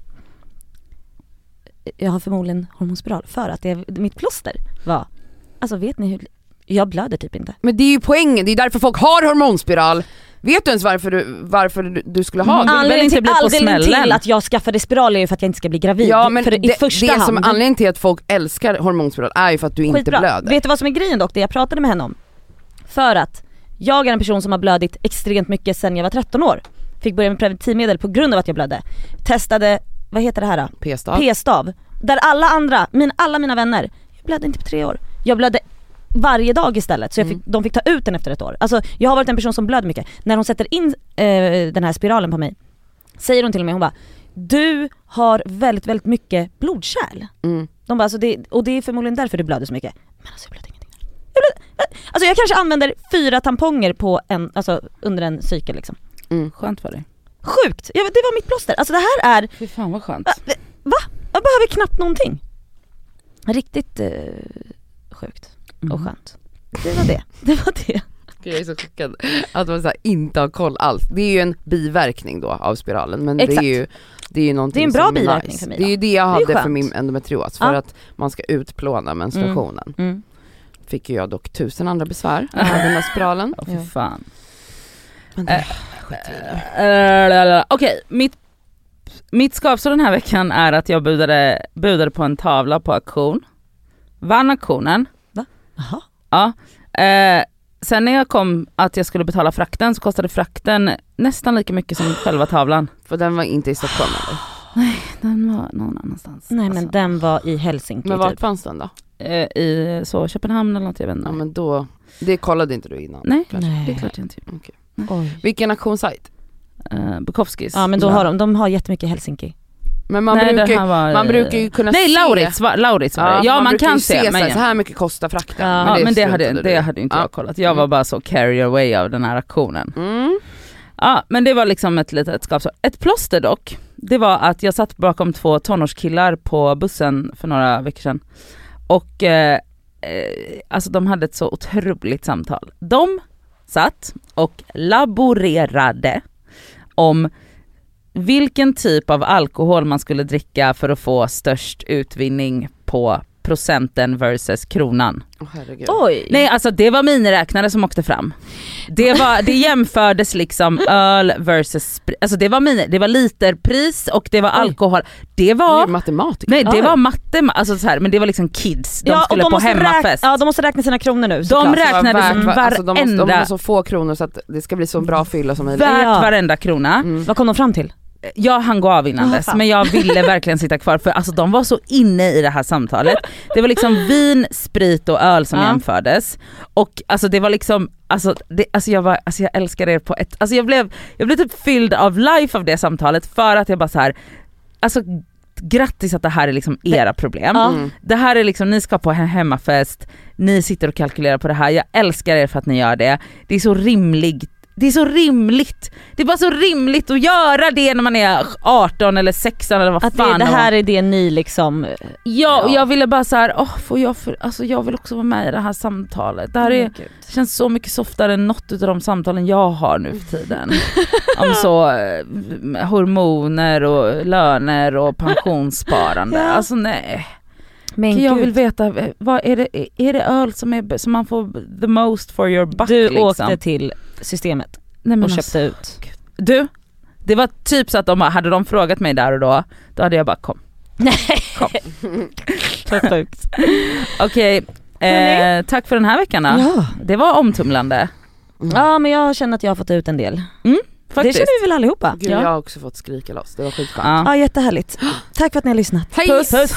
A: jag har förmodligen hormonspiral för att det, mitt plåster var, alltså vet ni hur, jag blöder typ inte.
C: Men det är ju poängen, det är därför folk har hormonspiral. Vet du ens varför du, varför du, du skulle ha
B: Mm.
C: det?
B: vill
A: Anledningen,
B: inte
A: till,
B: bli på
A: anledningen
B: smällen.
A: till att jag skaffade spiral är ju för att jag inte ska bli gravid.
C: Ja men
A: för
C: det,
A: i
C: det
A: första
C: som
A: hand.
C: anledningen till att folk älskar hormonspiral är ju för att du inte
A: Skitbra.
C: blöder.
A: Vet du vad som är grejen dock, det jag pratade med henne om? För att jag är en person som har blödit extremt mycket sedan jag var 13 år. Fick börja med preventivmedel på grund av att jag blödde. Testade, vad heter det här då?
C: P-stav.
A: P-stav. Där alla andra, min, alla mina vänner, jag blödde inte på tre år. Jag blödde varje dag istället så jag fick, de fick ta ut den efter ett år. Alltså jag har varit en person som blöder mycket. När hon sätter in eh, den här spiralen på mig säger hon till mig, hon bara du har väldigt väldigt mycket blodkärl.
C: Mm.
A: De bara, alltså det, och det är förmodligen därför du blöder så mycket. Men alltså jag blöder ingenting. Jag blöder, alltså jag kanske använder fyra tamponger på en, alltså under en cykel liksom.
B: Skönt för dig.
A: Sjukt! Jag, vet- det var mitt plåster. Alltså det här är
B: Fy fan vad skönt.
A: Va? Va? Jag behöver knappt någonting. Riktigt eh, sjukt
B: Mm.
A: och skönt. Det var det. Det var det.
C: Jag är så chockad att man så här inte har koll alls. Det är ju en biverkning då av spiralen men det
A: Exakt.
C: är ju det är ju någonting
A: Det är en bra
C: som
A: biverkning
C: nice.
A: för mig
C: Det är
A: då.
C: ju det jag
A: Det är ju
C: hade för
A: skönt.
C: min endometrios för
A: Ja.
C: att man ska utplåna menstruationen. Fick ju jag dock tusen andra besvär av den här spiralen.
B: Ja, fy fan. Äh,
C: Men det-
B: Eh, lalalala. Okej, mitt, mitt skavsår den här veckan är att jag budade, budade på en tavla på auktion. Vann auktionen.
A: Jaha.
B: Ja. Eh, sen när jag kom att jag skulle betala frakten så kostade frakten nästan lika mycket som själva tavlan.
C: För den var inte i Stockholm eller?
B: Den var någon annanstans.
A: Nej men
B: Alltså,
A: den var i Helsinki
C: Men vart
A: typ.
C: fanns den då?
B: eh, I så Köpenhamn eller något, jag vet inte.
C: Ja men då, det kollade inte du innan.
B: Nej,
C: kanske.
B: det är
A: Nej.
B: klart jag inte gjorde.
A: Oj.
C: Vilken auktionssajt?
B: Eh, Bukowskis.
A: Ja men då har de, de har jättemycket Helsinki.
C: Men man,
B: Nej, det
C: brukar,
B: här var,
C: man
B: eh,
C: brukar ju kunna
B: Nej
C: se.
B: Laurits var, Laurits var det. Ja, man,
C: brukar
B: kan
C: ju
B: se.
C: så,
B: men,
C: här, så här mycket kostar frakten.
A: Ja,
B: ja, men det, hade,
C: struntade du
B: det
C: i.
B: hade inte
C: Ja.
B: jag kollat. Jag var bara så carry away av den här aktionen.
C: Mm.
B: Ja men det var liksom ett litet skavsår. Ett plåster dock, det var att jag satt bakom två tonårskillar på bussen för några veckor sedan. Och eh, eh, alltså de hade ett så otroligt samtal. De satt och laborerade om vilken typ av alkohol man skulle dricka för att få störst utvinning på procenten versus kronan.
C: Åh, herregud.
A: Oj!
B: Nej alltså det var miniräknare som åkte fram. Det, var, det jämfördes liksom öl versus sprit, alltså det var, mini, det var literpris och det var alkohol. Det
C: Du är ju
B: var,
C: matematiker.
B: nej det
A: Oj.
B: var matte, alltså så här, men det var liksom kids, de
A: Ja, och
B: skulle på
A: måste räkna-
B: hemmafest.
A: Ja de måste räkna sina kronor nu såklart.
B: räknar-
C: Alltså,
B: räknade
C: värt
B: som
C: var- alltså, de, måste, de
B: varenda-
C: har så få kronor så att det ska bli så bra fylla som möjligt.
B: Värt
A: Ja.
B: varenda krona.
C: Mm.
A: Vad kom de fram till?
B: Jag hann gå av innan
A: Ah,
B: dess
A: fan.
B: men jag ville verkligen sitta kvar för alltså, de var så inne i det här samtalet. Det var liksom vin, sprit och öl som
A: Ja.
B: jämfördes. Och alltså det var liksom, alltså, det, alltså, jag, var, alltså, jag älskar er på ett, alltså jag blev, jag blev typ fylld av life av det samtalet för att jag bara så här, alltså grattis att det här är liksom era problem.
A: Ja.
C: Mm.
B: Det här är liksom, ni ska på en hemmafest, ni sitter och kalkylerar på det här, jag älskar er för att ni gör det. Det är så rimligt, det är så rimligt. Det är bara så rimligt att göra det när man är 18 eller 16 eller vad
A: Att det,
B: fan
A: det
B: man-
A: här är det ni liksom...
B: Ja, och jag ville bara så här, åh får jag för, alltså jag vill också vara med i det här samtalet. Det här
A: Mm.
B: är, det känns så mycket softare än något utav de samtalen jag har nu för tiden. Om så eh, hormoner och löner och pensionssparande.
A: Ja.
B: Alltså nej.
A: Men
B: jag
A: gud.
B: vill veta, eh, vad är, det, är det öl som, är, som man får the most for your buck?
A: du
B: liksom?
A: åkte till systemet
B: Nej, men
A: och
B: alltså,
A: köpte ut.
B: Du, det var typ så att de, hade de frågat mig där och då, då hade jag bara kom.
A: Så sjukt.
B: Okej, eh,
A: Hörni.
B: tack för den här veckan då.
A: Ja.
B: Det var omtumlande.
A: ja men jag känner att jag har fått ut en del. Det
B: Faktiskt.
A: känner vi väl allihopa?
C: Gud,
B: Ja.
C: jag har också fått skrika loss, det var skitskönt.
B: Ja.
A: Ja jättehärligt. Tack för att ni har lyssnat.
D: Hej!
B: Puss.